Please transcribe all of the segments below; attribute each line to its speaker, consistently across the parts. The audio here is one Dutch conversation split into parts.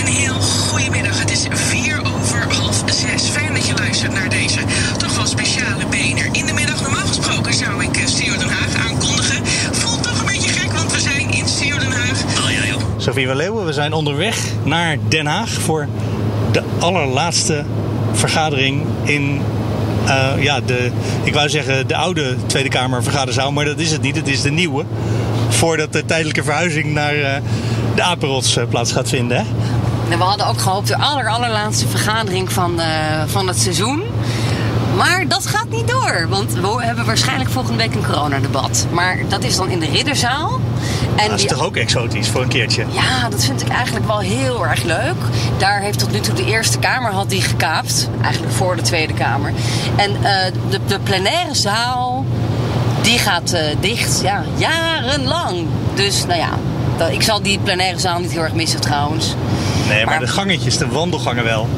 Speaker 1: Een heel goedemiddag. Het is vier over half zes. Fijn dat je luistert naar deze toch wel speciale bener. In de middag, normaal gesproken, zou ik eh, CEO Den Haag aankondigen. Voelt toch een beetje gek, want we zijn in CEO Den Haag. Oh ja, joh.
Speaker 2: Sophie van Leeuwen, we zijn onderweg naar Den Haag voor de allerlaatste vergadering in eh, ja, de, ik wou zeggen de oude Tweede Kamer vergaderzaal, maar dat is het niet. Het is de nieuwe. Voordat de tijdelijke verhuizing naar eh, de Aperots eh, plaats gaat vinden. Hè?
Speaker 3: Nou, we hadden ook gehoopt de aller, allerlaatste vergadering van, eh, van het seizoen. Maar dat gaat niet door, want we hebben waarschijnlijk volgende week een coronadebat. Maar dat is dan in de Ridderzaal. En
Speaker 2: Dat is
Speaker 3: die-
Speaker 2: toch ook exotisch voor een keertje.
Speaker 3: ja, dat vind ik eigenlijk wel heel erg leuk. Daar heeft tot nu toe de Eerste Kamer had die gekaapt. Eigenlijk voor de Tweede Kamer. En eh, de, de plenaire zaal, die gaat eh, dicht. Ja, jarenlang. Dus nou ja, dat- ik zal die plenaire zaal niet heel erg missen trouwens.
Speaker 2: Nee, maar
Speaker 3: Maar-
Speaker 2: de gangetjes, de wandelgangen wel.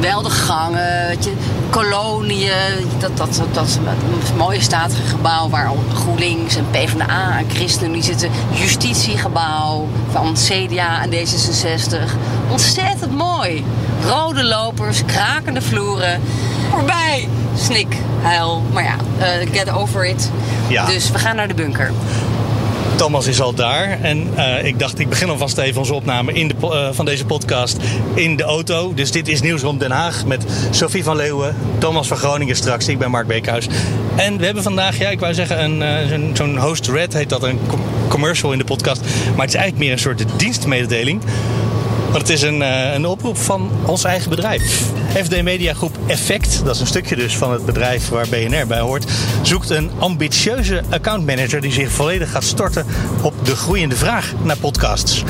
Speaker 3: Wel de gangen, weet je, koloniën, dat, dat, dat, dat is een- een mooie statige gebouw waar al GroenLinks en PvdA en ChristenUnie zitten. Justitiegebouw van CDA en D66. Ontzettend mooi. Rode lopers, krakende vloeren. Voorbij! Snik, huil. Maar ja, eh, get over it.
Speaker 2: Ja.
Speaker 3: Dus we gaan naar de bunker.
Speaker 2: Thomas is al daar en eh, ik dacht, ik begin alvast even onze opname in de, po- eh, van deze podcast in de auto. Dus dit is Nieuws rond Den Haag met Sophie van Leeuwen, Thomas van Groningen straks, ik ben Mark Beekhuis. En we hebben vandaag, ja, ik wou zeggen, een, eh, zo'n- zo'n host red heet dat, een com- commercial in de podcast. Maar het is eigenlijk meer een soort dienstmededeling. Maar het is een, eh, een oproep van ons eigen bedrijf. FD Media Groep Effect, dat is een stukje dus van het bedrijf waar BNR bij hoort, zoekt een ambitieuze accountmanager die zich volledig gaat storten op de groeiende vraag naar podcasts.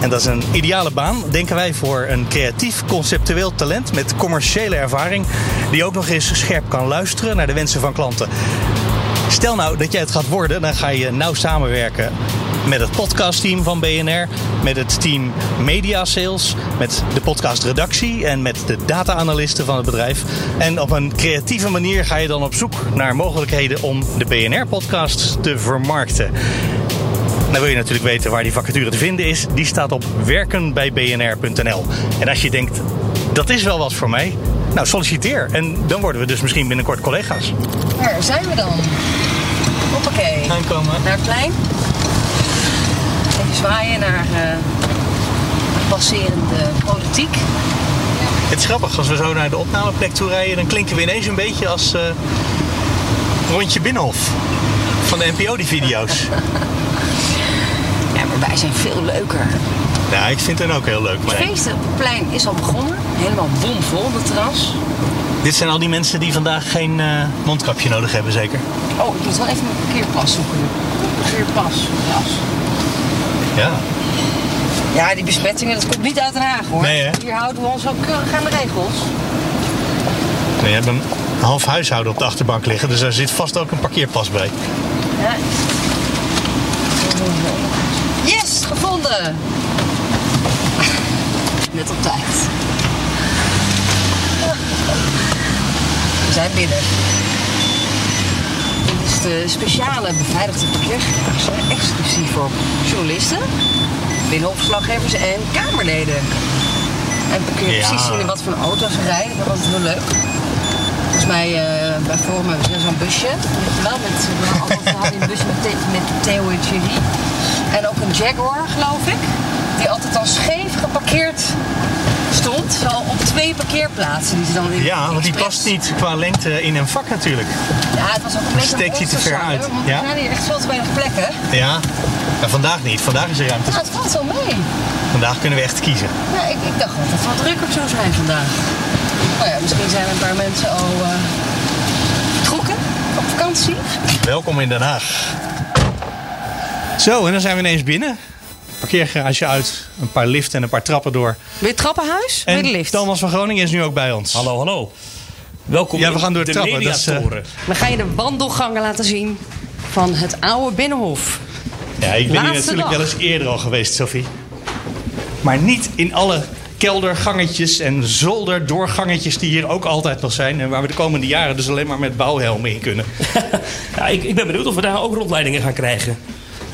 Speaker 2: En dat is een ideale baan, denken wij, voor een creatief, conceptueel talent met commerciële ervaring, die ook nog eens scherp kan luisteren naar de wensen van klanten. Stel nou dat jij het gaat worden, dan ga je nauw samenwerken met het podcastteam van BNR, met het team Media Sales, met de podcastredactie en met de data-analisten van het bedrijf. En op een creatieve manier ga je dan op zoek naar mogelijkheden om de BNR-podcast te vermarkten. Dan wil je natuurlijk weten waar die vacature te vinden is. Die staat op werkenbijbnr.nl. En als je denkt, dat is wel wat voor mij, nou solliciteer. En dan worden we dus misschien binnenkort collega's.
Speaker 3: Waar zijn we dan? Hoppakee.
Speaker 2: Aankomen.
Speaker 3: naar het plein. Even zwaaien naar eh, de passerende politiek.
Speaker 2: Het is grappig, als we zo naar de opnameplek toe rijden, dan klinken we ineens een beetje als eh, Rondje Binnenhof. Van de NPO, die video's.
Speaker 3: Ja, maar wij zijn veel leuker.
Speaker 2: ja, ik vind hen ook heel leuk.
Speaker 3: Het
Speaker 2: Maar
Speaker 3: feest op het plein is al begonnen. Helemaal bomvol, de terras.
Speaker 2: dit zijn al die mensen die vandaag geen eh, mondkapje nodig hebben, zeker?
Speaker 3: Oh, ik moet wel even mijn parkeerpas zoeken. nu. Parkeerpas, jas.
Speaker 2: Ja.
Speaker 3: Ja, die besmettingen, dat komt niet uit Den Haag hoor.
Speaker 2: Nee, hè?
Speaker 3: Hier houden we ons ook keurig aan de regels.
Speaker 2: Nee, je hebt een half huishouden op de achterbank liggen, dus daar zit vast ook een parkeerpas bij.
Speaker 3: Ja. Yes, gevonden! Net op tijd. We zijn binnen. Dit is de speciale beveiligde parkeergarage, exclusief voor journalisten, binnenopverslaggevers en kamerleden. En dan kun je
Speaker 2: Ja.
Speaker 3: precies zien in wat voor auto's ze rijden, dat was heel leuk. Volgens mij, eh bij Forum hebben ze zo'n busje. Weet je wel, met eh, allemaal verhalen in busje met, Theo- met Theo en Thierry. En ook een Jaguar, geloof ik. Die altijd al scheef geparkeerd stond. Zo op twee parkeerplaatsen die ze dan in
Speaker 2: Ja, want die
Speaker 3: expres-
Speaker 2: past niet qua lengte in een vak natuurlijk.
Speaker 3: Ja, het was ook een beetje
Speaker 2: Steekt hij te ver uit,
Speaker 3: Want
Speaker 2: ja?
Speaker 3: er zijn hier echt veel te weinig plekken.
Speaker 2: Ja, maar vandaag niet. Vandaag is er ruimte.
Speaker 3: Ja, het valt wel mee.
Speaker 2: Vandaag kunnen we echt kiezen.
Speaker 3: Ja, ik, ik dacht dat het wel druk op zou zijn vandaag. Nou ja, misschien zijn er een paar mensen al eh, vertrokken op vakantie.
Speaker 2: Welkom in Den Haag. Zo, en dan zijn we ineens binnen. parkeergarage uit, een paar liften en een paar trappen door.
Speaker 3: Weer trappenhuis?
Speaker 2: En
Speaker 3: Weer de lift.
Speaker 2: Thomas van Groningen is nu ook bij ons.
Speaker 4: Hallo, hallo. Welkom
Speaker 2: Ja, we gaan
Speaker 4: in
Speaker 2: door
Speaker 4: de
Speaker 2: trappen, dat is, eh,
Speaker 4: mediatoren.
Speaker 3: We gaan je de wandelgangen laten zien van het oude Binnenhof.
Speaker 2: Ja, ik ben hier
Speaker 3: Laatste
Speaker 2: natuurlijk
Speaker 3: dag.
Speaker 2: wel eens eerder al geweest, Sophie. Maar niet in alle keldergangetjes en zolderdoorgangetjes die hier ook altijd nog zijn. En waar we de komende jaren dus alleen maar met bouwhelmen in kunnen.
Speaker 4: ja, ik, ik ben benieuwd of we daar ook rondleidingen gaan krijgen.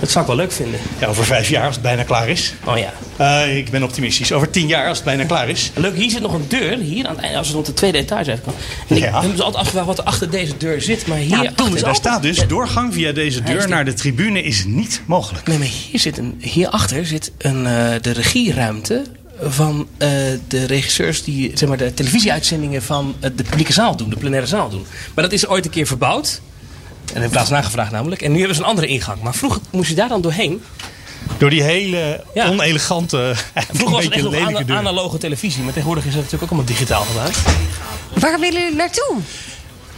Speaker 4: Dat zou ik wel leuk vinden.
Speaker 2: Ja, over vijf jaar als het bijna klaar is.
Speaker 4: Oh ja.
Speaker 2: Eh, ik ben optimistisch. Over tien jaar als het bijna klaar is.
Speaker 4: Leuk, hier zit nog een deur. Hier aan het einde, als het op de tweede etage uitkomt. En ik
Speaker 2: Ja.
Speaker 4: heb me altijd afgevraagd wat er achter deze deur zit. Maar hier
Speaker 3: doen we
Speaker 4: achter-
Speaker 3: het
Speaker 2: Daar staat dus doorgang via deze deur naar de tribune is niet mogelijk.
Speaker 4: Nee, maar hier zit een, hierachter zit een, eh, de regieruimte van eh, de regisseurs die zeg maar, de televisieuitzendingen van eh, de publieke zaal doen, de plenaire zaal doen. Maar dat is ooit een keer verbouwd. En dat heb ik laatst nagevraagd namelijk. En nu hebben ze een andere ingang. Maar vroeger moest je daar dan doorheen.
Speaker 2: Door die hele
Speaker 4: Ja.
Speaker 2: onelegante, eigenlijk een
Speaker 4: Vroeger was het
Speaker 2: beetje
Speaker 4: echt nog
Speaker 2: lelijke
Speaker 4: ana-
Speaker 2: deur.
Speaker 4: analoge televisie. Maar tegenwoordig is dat natuurlijk ook allemaal digitaal gemaakt.
Speaker 3: Waar willen jullie naartoe?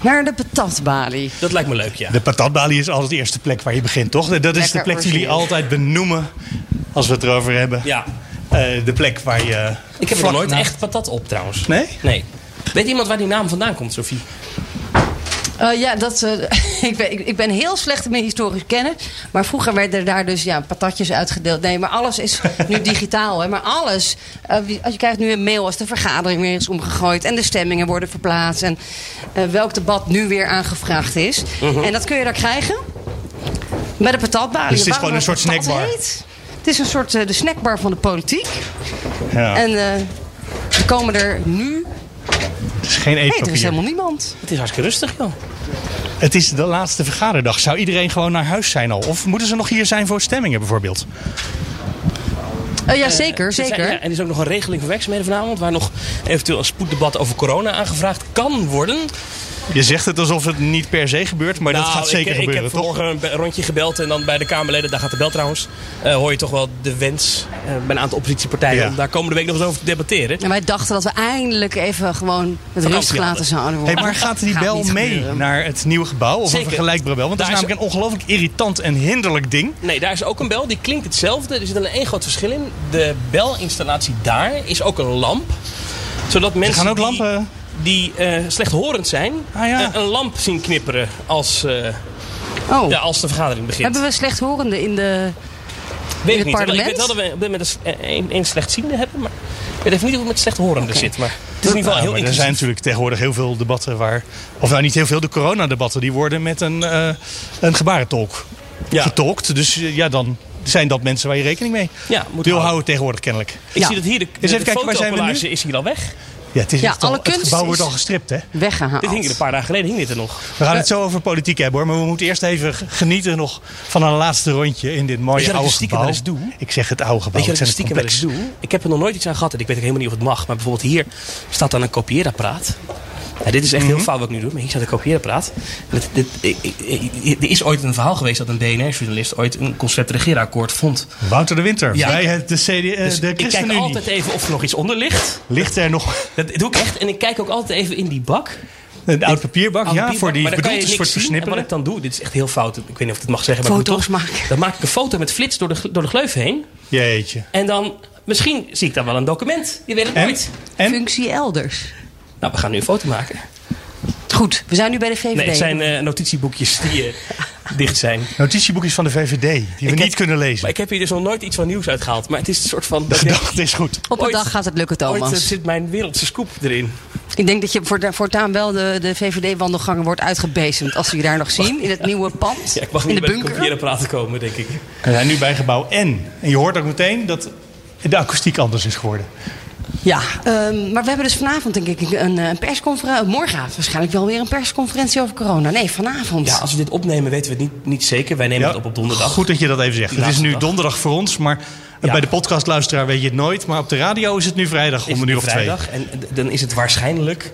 Speaker 3: Naar de patatbalie.
Speaker 4: Dat lijkt me leuk, ja.
Speaker 2: De patatbalie is altijd de eerste plek waar je begint, toch? Dat is de
Speaker 3: Lekker
Speaker 2: plek die jullie
Speaker 3: origineel.
Speaker 2: altijd benoemen als we het erover hebben.
Speaker 4: Ja.
Speaker 2: Eh, de plek waar je...
Speaker 4: Ik heb er
Speaker 2: vlak
Speaker 4: nooit
Speaker 2: na-
Speaker 4: echt patat op trouwens.
Speaker 2: Nee?
Speaker 4: Nee. Weet iemand waar die naam vandaan komt, Sophie?
Speaker 3: Eh, ja, dat, eh, ik, ben, ik, ik ben heel slecht met historisch kennen. Maar vroeger werden er daar dus ja, patatjes uitgedeeld. Nee, maar alles is nu digitaal. Hè, maar alles. eh, wie- als je krijgt nu een mail als de vergadering weer is omgegooid. En de stemmingen worden verplaatst. En eh, welk debat nu weer aangevraagd is. En dat kun je daar krijgen. Bij de patatbalie.
Speaker 2: Mhm. Dus het is
Speaker 3: Waarom
Speaker 2: gewoon een soort
Speaker 3: patat
Speaker 2: snackbar.
Speaker 3: heet? Het is een soort eh, de snackbar van de politiek.
Speaker 2: Ja.
Speaker 3: En eh, er komen er nu...
Speaker 2: het is geen
Speaker 3: Nee, er is
Speaker 2: eetpapier.
Speaker 3: helemaal niemand.
Speaker 4: Het is hartstikke rustig, joh.
Speaker 2: Het is de laatste vergaderdag. Zou iedereen gewoon naar huis zijn al? Of moeten ze nog hier zijn voor stemmingen bijvoorbeeld?
Speaker 3: Eh, ja, zeker,
Speaker 4: Er zijn-
Speaker 3: zeker.
Speaker 4: ja, en er is ook nog een regeling voor werkzaamheden vanavond... waar nog eventueel een spoeddebat over corona aangevraagd kan worden.
Speaker 2: Je zegt het alsof het niet per se gebeurt, maar dat
Speaker 4: Nou,
Speaker 2: gaat zeker
Speaker 4: ik,
Speaker 2: gebeuren,
Speaker 4: Ik heb
Speaker 2: toch?
Speaker 4: vanmorgen een be- rondje gebeld en dan bij de Kamerleden... daar gaat de bel trouwens, eh, hoor je toch wel de wens eh, bij een aantal oppositiepartijen...
Speaker 2: Ja.
Speaker 4: om daar komende week nog eens over te debatteren.
Speaker 3: En wij dachten dat we eindelijk even gewoon met rust
Speaker 4: hadden.
Speaker 3: gelaten zouden
Speaker 2: Hey,
Speaker 3: worden.
Speaker 2: maar gaat die bel
Speaker 3: niet
Speaker 2: mee
Speaker 3: gebeuren.
Speaker 2: naar het nieuwe gebouw? Of
Speaker 4: Zeker.
Speaker 2: een vergelijkbare bel? Want dat is
Speaker 4: Daar is-
Speaker 2: namelijk een ongelooflijk irritant en hinderlijk ding.
Speaker 4: Nee, daar is ook een bel. Die klinkt hetzelfde. Er zit alleen één groot verschil in. De belinstallatie daar is ook een lamp. Zodat mensen
Speaker 2: gaan ook
Speaker 4: die,
Speaker 2: lampen-
Speaker 4: die eh, slechthorend zijn,
Speaker 2: Ah, ja.
Speaker 4: eh, een lamp zien knipperen als, eh,
Speaker 3: Oh,
Speaker 4: ja, als de vergadering begint.
Speaker 3: hebben we slechthorenden in de...
Speaker 4: weet
Speaker 3: in het
Speaker 4: ik niet.
Speaker 3: parlement?
Speaker 4: Ik weet wel dat we op dit moment een, s- eh, een, een slechtziende hebben, maar ik weet even niet hoe het met slechthorenden zit. Maar het is in ieder geval
Speaker 2: Ja, maar
Speaker 4: heel
Speaker 2: er zijn
Speaker 4: interessant.
Speaker 2: natuurlijk tegenwoordig heel veel debatten waar... Of nou niet heel veel, de coronadebatten. Die worden met een, eh, een gebarentolk
Speaker 4: Ja.
Speaker 2: getolkt. Dus eh, ja, dan zijn dat mensen waar je rekening mee
Speaker 4: Ja, moet
Speaker 2: wil
Speaker 4: houden.
Speaker 2: houden tegenwoordig kennelijk.
Speaker 4: Ik
Speaker 3: Ja.
Speaker 4: zie dat hier de, de,
Speaker 2: even kijken, waar zijn we nu?
Speaker 4: fotocollage is hier al weg.
Speaker 2: Ja, het, is
Speaker 3: Ja,
Speaker 2: echt al-
Speaker 3: alle
Speaker 2: het
Speaker 3: kunst
Speaker 2: gebouw wordt
Speaker 3: is-
Speaker 2: al gestript, hè?
Speaker 3: Weggehaald.
Speaker 4: Dit hing er een paar dagen geleden, hing dit er nog.
Speaker 2: We gaan het zo over politiek hebben hoor, maar we moeten eerst even g- genieten nog van een laatste rondje in dit mooie
Speaker 4: Weet je dat ik
Speaker 2: oude
Speaker 4: het stiekem
Speaker 2: gebouw.
Speaker 4: wel eens doe?
Speaker 2: Ik zeg het oude gebouw.
Speaker 4: Weet je wat ik
Speaker 2: het
Speaker 4: stiekem wel
Speaker 2: zijn
Speaker 4: eens
Speaker 2: het complex.
Speaker 4: doe? Ik heb er nog nooit iets aan gehad en ik weet ook helemaal niet of het mag. Maar bijvoorbeeld hier staat dan een kopieerapparaat. Nou, dit is echt
Speaker 2: Mhm.
Speaker 4: heel fout wat ik nu doe, maar hier staat een kopieerapparaat. En het- dit, ik- ik- ik- er is ooit een verhaal geweest dat een DNR-journalist ooit een concept-regeerakkoord vond.
Speaker 2: Wouter de Winter,
Speaker 4: Ja.
Speaker 2: bij het- de, CD, eh,
Speaker 4: Dus
Speaker 2: de
Speaker 4: ik kijk
Speaker 2: ChristenUnie.
Speaker 4: altijd even of er nog iets onder ligt.
Speaker 2: Ligt er nog
Speaker 4: Dat doe ik echt. En ik kijk ook altijd even in die bak.
Speaker 2: een oud papierbak?
Speaker 4: Aan de
Speaker 2: ja,
Speaker 4: bierbak,
Speaker 2: voor die
Speaker 4: maar dan kan je
Speaker 2: bedoeld is voor het
Speaker 4: niks zien. En
Speaker 2: versnipperen.
Speaker 4: Wat ik dan doe, dit is echt heel fout. Ik weet niet of ik het mag zeggen. Maar ik doe
Speaker 3: Foto's
Speaker 4: het toch.
Speaker 3: maken.
Speaker 4: Dan maak ik een foto met flits door de, gl- door de gleuf heen.
Speaker 2: Jeetje.
Speaker 4: En dan, misschien zie ik dan wel een document. Je weet het
Speaker 2: En?
Speaker 4: nooit.
Speaker 2: en?
Speaker 3: Functie elders.
Speaker 4: Nou, we gaan nu een foto maken.
Speaker 3: Goed, we zijn nu bij de VVD.
Speaker 4: Nee, het zijn eh, notitieboekjes die eh, dicht zijn.
Speaker 2: Notitieboekjes van de VVD, die we niet
Speaker 4: heb-
Speaker 2: kunnen lezen.
Speaker 4: Maar ik heb hier dus nog nooit iets van nieuws uitgehaald. Maar het is een soort van...
Speaker 2: De
Speaker 4: ik denk,
Speaker 2: gedachte is goed.
Speaker 3: Op een
Speaker 4: ooit-
Speaker 3: dag gaat het lukken,
Speaker 4: Ooit
Speaker 3: Thomas.
Speaker 4: eh, zit mijn wereldse scoop erin.
Speaker 3: Ik denk dat je voorta- voortaan wel de, de VVD-wandelgangen wordt uitgebezemd. Als we je daar nog zien, in het nieuwe pand.
Speaker 4: Ja, ik mag
Speaker 3: in
Speaker 4: niet
Speaker 3: de
Speaker 4: bij de
Speaker 3: bunker.
Speaker 4: computer praten komen, denk ik.
Speaker 2: We zijn nu bij gebouw N. En je hoort ook meteen dat de akoestiek anders is geworden.
Speaker 3: Ja, ehm, maar we hebben dus vanavond denk ik een, eh, een persconferentie. Morgen waarschijnlijk wel weer een persconferentie over corona. Nee, vanavond.
Speaker 4: Ja, als we dit opnemen weten we het niet, niet zeker. Wij nemen
Speaker 2: Ja,
Speaker 4: het op op donderdag.
Speaker 2: Goed dat je dat even zegt. Het is
Speaker 4: laatste
Speaker 2: nu
Speaker 4: dag.
Speaker 2: donderdag voor ons, maar
Speaker 4: Ja.
Speaker 2: bij de podcastluisteraar weet je het nooit. Maar op de radio is het nu vrijdag
Speaker 4: Is
Speaker 2: om een uur
Speaker 4: het
Speaker 2: of twee.
Speaker 4: vrijdag. En d- dan is het waarschijnlijk...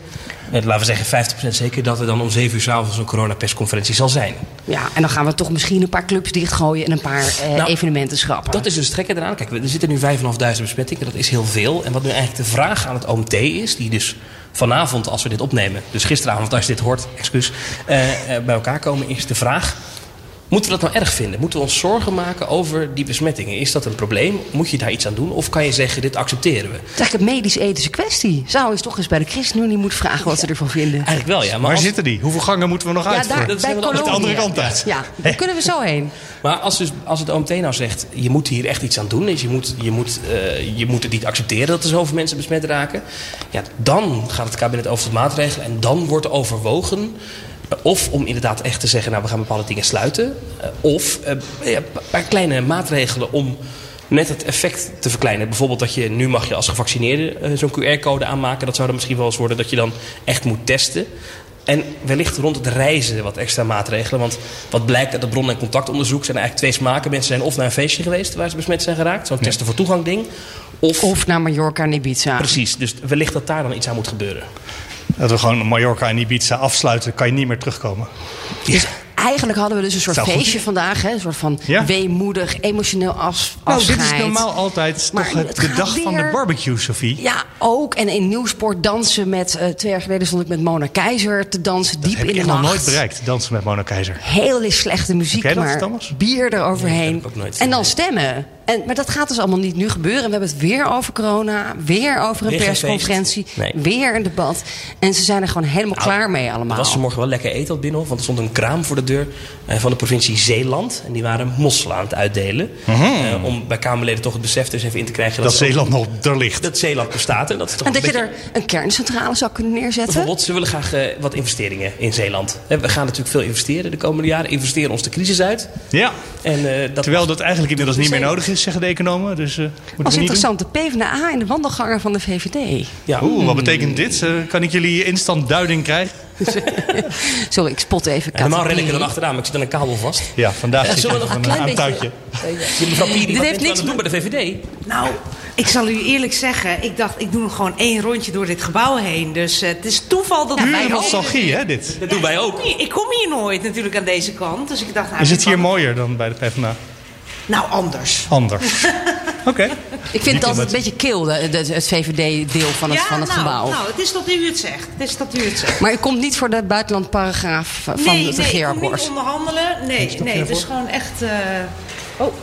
Speaker 4: eh, Laten we zeggen 50% zeker dat er dan om 7 uur s'avonds een coronapersconferentie zal zijn.
Speaker 3: Ja, en dan gaan we toch misschien een paar clubs dichtgooien en een paar eh,
Speaker 4: Nou,
Speaker 3: evenementen schrappen.
Speaker 4: Dat is dus het gekke eraan. Kijk, we- er zitten nu 5.500 besmettingen. Dat is heel veel. En wat nu eigenlijk de vraag aan het OMT is... die dus vanavond, als we dit opnemen... dus gisteravond, als je dit hoort, excuus... eh, eh, bij elkaar komen, is de vraag... Moeten we dat nou erg vinden? Moeten we ons zorgen maken over die besmettingen? Is dat een probleem? Moet je daar iets aan doen? Of kan je zeggen, dit accepteren we?
Speaker 3: Het is eigenlijk een medisch-ethische kwestie. Zou eens toch eens bij de ChristenUnie moeten vragen wat ze ervan vinden.
Speaker 4: Eigenlijk wel, ja. Maar,
Speaker 2: Waar
Speaker 4: als,
Speaker 2: zitten die? Hoeveel gangen moeten we nog
Speaker 3: Ja,
Speaker 2: uitvoeren?
Speaker 3: daar,
Speaker 4: dat is
Speaker 3: bij
Speaker 4: helemaal de
Speaker 3: Colonia.
Speaker 2: andere kant uit.
Speaker 3: Ja, daar kunnen we zo heen.
Speaker 4: maar als, dus, als het OMT nou zegt, je moet hier echt iets aan doen... Dus je, moet, je, moet, eh, je moet het niet accepteren dat er zoveel mensen besmet raken... Ja, dan gaat het kabinet over tot maatregelen en dan wordt overwogen... eh, Of om inderdaad echt te zeggen, nou we gaan bepaalde dingen sluiten. eh, Of eh, ja, een paar kleine maatregelen om net het effect te verkleinen. Bijvoorbeeld dat je nu mag je als gevaccineerde eh, zo'n QR-code aanmaken. Dat zou dan misschien wel eens worden dat je dan echt moet testen. En wellicht rond het reizen wat extra maatregelen. Want wat blijkt uit het bron- en contactonderzoek zijn er eigenlijk twee smaken. Mensen zijn of naar een feestje geweest waar ze besmet zijn geraakt. Zo'n testen voor toegang ding. Of,
Speaker 3: Of naar Mallorca en Ibiza.
Speaker 4: precies, dus wellicht dat daar dan iets aan moet gebeuren.
Speaker 2: Dat we gewoon Mallorca en Ibiza afsluiten, kan je niet meer terugkomen.
Speaker 3: Eigenlijk hadden we dus een soort
Speaker 2: Zou goed
Speaker 3: feestje
Speaker 2: zijn.
Speaker 3: vandaag. Hè? Een soort van
Speaker 2: Ja.
Speaker 3: weemoedig, emotioneel af,
Speaker 2: Nou, dit
Speaker 3: afscheid.
Speaker 2: is normaal altijd
Speaker 3: Maar
Speaker 2: toch het-
Speaker 3: het
Speaker 2: de
Speaker 3: gaat
Speaker 2: dag van de
Speaker 3: weer-
Speaker 2: barbecue, Sophie.
Speaker 3: Ja, ook. En in Nieuwsport dansen met... eh, twee jaar geleden stond ik met Mona Keizer te dansen diep
Speaker 2: Heb
Speaker 3: in
Speaker 2: ik
Speaker 3: de
Speaker 2: echt
Speaker 3: nacht.
Speaker 2: nog nooit bereikt, dansen met Mona Keizer.
Speaker 3: Hele slechte muziek,
Speaker 2: Heb jij dat,
Speaker 3: maar
Speaker 2: Thomas?
Speaker 3: bier eroverheen.
Speaker 4: ik ook nooit.
Speaker 3: en dan stemmen. En, maar dat gaat dus allemaal niet nu gebeuren. We hebben het weer over corona, weer over een
Speaker 4: Weer geen
Speaker 3: persconferentie,
Speaker 4: feest. Nee. Nou,
Speaker 3: weer een debat. En ze zijn er gewoon helemaal klaar mee allemaal.
Speaker 4: Was ze morgen wel lekker eten op Binnenhof? Want er stond een kraam voor de deur eh, van de provincie Zeeland. En die waren mosselen aan het uitdelen. Eh, om bij Kamerleden toch het besef dus even in te krijgen
Speaker 2: Dat
Speaker 4: ze-
Speaker 2: Zeeland nog er ligt.
Speaker 4: dat Zeeland bestaat. En dat is
Speaker 3: en
Speaker 4: toch een
Speaker 3: dat je
Speaker 4: beetje-
Speaker 3: er een kerncentrale zou kunnen neerzetten.
Speaker 4: Bijvoorbeeld, ze willen graag eh, wat investeringen in Zeeland. Eh, we gaan natuurlijk veel investeren de komende jaren. Investeren ons de crisis uit.
Speaker 2: Ja,
Speaker 4: En, eh, dat
Speaker 2: terwijl dat eigenlijk inmiddels niet meer
Speaker 4: Zeeland.
Speaker 2: nodig is, zeggen de economen. Dus eh moeten
Speaker 3: Als
Speaker 2: we niet doen.
Speaker 3: interessant, de PvdA en de wandelganger van de VVD.
Speaker 4: Ja,
Speaker 2: Oeh, wat betekent dit? Eh, kan ik jullie instant duiding krijgen?
Speaker 3: Sorry, ik spot even
Speaker 4: En normaal ren ik er
Speaker 3: categorie.
Speaker 4: dan achteraan, maar ik zit aan een kabel vast.
Speaker 2: Ja, vandaag zit
Speaker 4: zullen we
Speaker 2: ik
Speaker 4: nog
Speaker 2: aan
Speaker 4: een
Speaker 2: een
Speaker 4: klein
Speaker 2: aan een
Speaker 4: beetje-
Speaker 2: touwtje.
Speaker 4: Je mevrouw Piri, wat
Speaker 3: heeft
Speaker 4: heeft niks
Speaker 3: niks
Speaker 4: te doen bij de VVD.
Speaker 5: Nou, ik zal u eerlijk zeggen, ik dacht, ik doe nog gewoon één rondje door dit gebouw heen. Dus eh, het is toeval dat
Speaker 2: Pure
Speaker 5: ook-
Speaker 2: nostalgie, hè, dit?
Speaker 4: Dat doen wij ook.
Speaker 5: Nee, Ik kom hier nooit natuurlijk aan deze kant. Dus ik dacht, nou,
Speaker 2: Is
Speaker 5: dit
Speaker 2: het hier
Speaker 5: kan-
Speaker 2: mooier dan bij de PvdA?
Speaker 5: Nou, anders.
Speaker 2: Anders. Oké.
Speaker 3: Ik vind het
Speaker 2: Niet
Speaker 3: altijd
Speaker 2: omdat-
Speaker 3: een beetje kil, de- de- het VVD-deel van het, van het
Speaker 5: nou,
Speaker 3: gebouw.
Speaker 5: nou, het is dat u het zegt. Het is dat u het zegt.
Speaker 3: Maar u komt niet voor de buitenlandparagraaf van
Speaker 5: nee,
Speaker 3: het
Speaker 5: nee, ik kom niet
Speaker 3: regeerakkoord.
Speaker 5: onderhandelen. Nee, nee, het is gewoon echt... eh, Oh,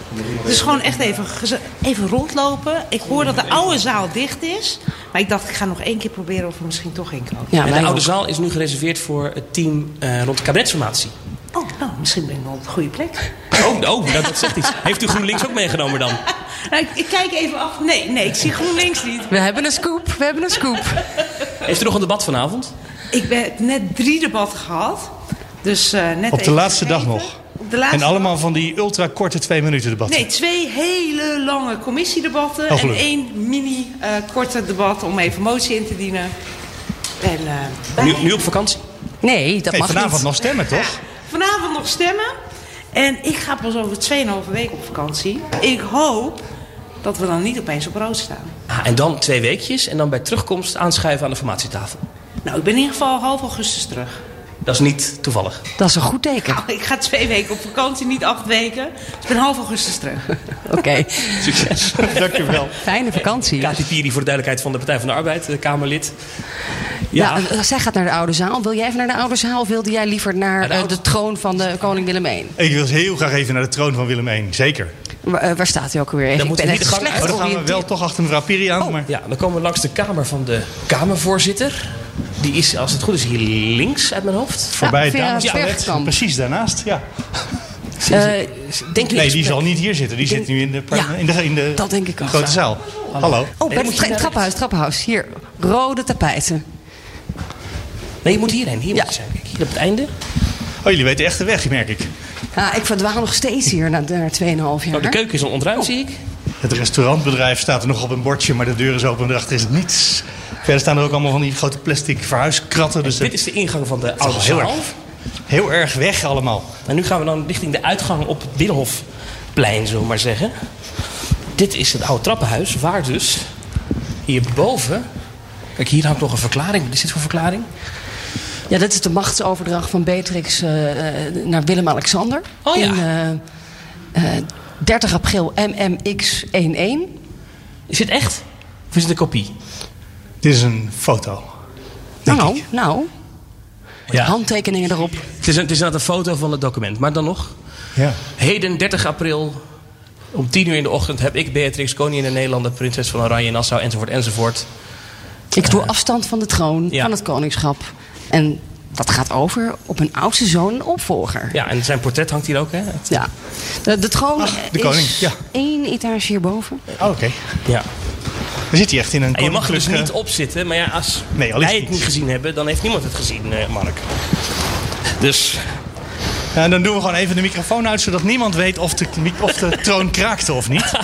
Speaker 5: het is gewoon echt even, geze- even rondlopen. Ik hoor dat de oude zaal dicht is. Maar ik dacht, ik ga nog één keer proberen of er misschien toch in kan.
Speaker 3: Ja,
Speaker 4: En
Speaker 3: wij
Speaker 4: de
Speaker 3: ook.
Speaker 4: oude zaal is nu gereserveerd voor het team eh, rond de kabinetsformatie.
Speaker 5: Oh, nou, misschien ben ik wel op de goede plek.
Speaker 4: Oh, oh dat, dat zegt iets. Heeft u GroenLinks ook meegenomen dan?
Speaker 5: Nou, ik, ik kijk even af. Nee, nee, ik zie GroenLinks niet.
Speaker 3: We hebben een scoop, we hebben een scoop.
Speaker 4: Heeft u nog een debat vanavond?
Speaker 5: Ik heb net drie debatten gehad. Dus, eh, net
Speaker 2: Op de
Speaker 5: even
Speaker 2: laatste dag
Speaker 5: vergeten.
Speaker 2: nog.
Speaker 5: Op de laatste
Speaker 2: En allemaal van die ultra-korte twee-minuten debatten.
Speaker 5: Nee, twee hele lange commissiedebatten.
Speaker 2: Oh,
Speaker 5: en
Speaker 2: gelukkig.
Speaker 5: één mini-korte debat om even motie in te dienen. En, eh, daar-
Speaker 4: Nu, nu op vakantie?
Speaker 3: Nee, dat
Speaker 2: Nee,
Speaker 3: mag
Speaker 2: vanavond
Speaker 3: niet.
Speaker 2: nog stemmen, toch?
Speaker 5: Vanavond nog stemmen. En ik ga pas over 2,5 week op vakantie. Ik hoop dat we dan niet opeens op rood staan.
Speaker 4: Ah, en dan twee weekjes en dan bij terugkomst aanschuiven aan de formatietafel.
Speaker 5: Nou, ik ben in ieder geval half augustus terug.
Speaker 4: Dat is niet toevallig.
Speaker 3: Dat is een goed teken.
Speaker 5: Nou, ik ga twee weken op vakantie, niet acht weken. Dus ik ben half augustus terug.
Speaker 4: Nou.
Speaker 3: Oké,
Speaker 4: Succes.
Speaker 2: Dank u wel.
Speaker 3: fijne vakantie. Ja,
Speaker 4: Kati Piri voor de duidelijkheid van de Partij van de Arbeid, eh, Kamerlid.
Speaker 3: eh, zij gaat naar de oude zaal. Wil jij even naar de oude zaal? Of wilde jij liever naar
Speaker 4: Naar de
Speaker 3: eh,
Speaker 4: oude-
Speaker 3: de troon van de koning Willem I?
Speaker 2: Ik wil heel graag even naar de troon van Willem I. Zeker.
Speaker 3: Waar, eh, waar staat hij ook alweer?
Speaker 4: Dan
Speaker 3: Ik
Speaker 4: moeten
Speaker 3: ben
Speaker 4: we
Speaker 3: echt
Speaker 4: niet de gang
Speaker 3: slecht
Speaker 2: Maar dan gaan we
Speaker 3: georiënteerd.
Speaker 2: wel toch achter mevrouw Piri
Speaker 3: Oh,
Speaker 2: aan. Maar...
Speaker 4: Ja, dan komen we langs de kamer van de Kamervoorzitter. Die is, als het goed is, hier links uit mijn hoofd.
Speaker 2: Voorbij
Speaker 3: Ja,
Speaker 2: het
Speaker 3: via het
Speaker 2: damestoilet.
Speaker 3: Bergkamp.
Speaker 2: Precies daarnaast, ja.
Speaker 3: Eh,
Speaker 4: Denk u
Speaker 2: Nee,
Speaker 4: eens-
Speaker 2: die zal niet hier zitten. Die zit nu in de,
Speaker 3: Ja,
Speaker 2: in de, in de
Speaker 3: dat denk ik ook.
Speaker 2: grote zaal. Hallo.
Speaker 3: Oh, bij
Speaker 4: moet
Speaker 3: het
Speaker 4: je naar-
Speaker 3: trappenhuis, trappenhuis. Hier, rode tapijten.
Speaker 4: Nee, je moet hierheen. Hier
Speaker 3: Ja.
Speaker 4: moet je zijn. Kijk, hier op het einde.
Speaker 2: Oh, jullie weten echt de weg, merk ik.
Speaker 3: Ja, Ah, ik verdwaal nog steeds hier na, na 2,5 jaar.
Speaker 4: Nou, de keuken is al
Speaker 3: Oh.
Speaker 4: ontruimd, zie ik.
Speaker 2: Het restaurantbedrijf staat er nog op een bordje, maar de deur is open en erachter is niets. Verder staan er ook allemaal van die grote plastic verhuiskratten. Dus
Speaker 4: Dit
Speaker 2: het
Speaker 4: is de ingang van de
Speaker 2: is
Speaker 4: oude
Speaker 2: wel heel
Speaker 4: zaal.
Speaker 2: erg, heel erg weg allemaal.
Speaker 4: En nu gaan we dan richting de uitgang op het Binnenhofplein, zullen we maar zeggen. Dit is het oude trappenhuis, waar dus hierboven... Kijk, hier hangt nog een verklaring. Wat is dit voor verklaring?
Speaker 3: Ja, dat is de machtsoverdracht van Beatrix eh, eh, naar Willem-Alexander.
Speaker 4: Oh ja.
Speaker 3: In, eh, eh, 30 april MMX11.
Speaker 4: Is dit echt? Of is het een kopie?
Speaker 2: Dit is een foto. Denk
Speaker 3: Nou,
Speaker 2: ik.
Speaker 3: nou. Handtekeningen erop.
Speaker 4: Het is, een- het is inderdaad een foto van het document. Maar dan nog,
Speaker 6: Ja.
Speaker 4: Heden 30 april om 10 uur in de ochtend heb ik Beatrix, koningin der Nederlanden, prinses van Oranje, Nassau, enzovoort, enzovoort.
Speaker 3: Ik doe afstand van de troon,
Speaker 4: Ja.
Speaker 3: van het koningschap. En dat gaat over op een oudste zoon en opvolger.
Speaker 4: Ja, en zijn portret hangt hier ook, hè?
Speaker 3: Ja. De, de troon
Speaker 2: Ah, de
Speaker 3: is
Speaker 2: koning, ja.
Speaker 3: één etage hierboven.
Speaker 2: Oh, oké.
Speaker 4: Ja.
Speaker 2: Dan zit hij echt in een eh.
Speaker 4: En je mag er dus niet
Speaker 2: koninklijke-
Speaker 4: op zitten, maar ja, als
Speaker 2: Nee, al is het
Speaker 4: wij het
Speaker 2: niet.
Speaker 4: niet gezien hebben, dan heeft niemand het gezien, eh, Mark. Dus
Speaker 2: Ja, dan doen we gewoon even de microfoon uit, zodat niemand weet of de, mi- of de troon kraakte of niet.
Speaker 4: Hé,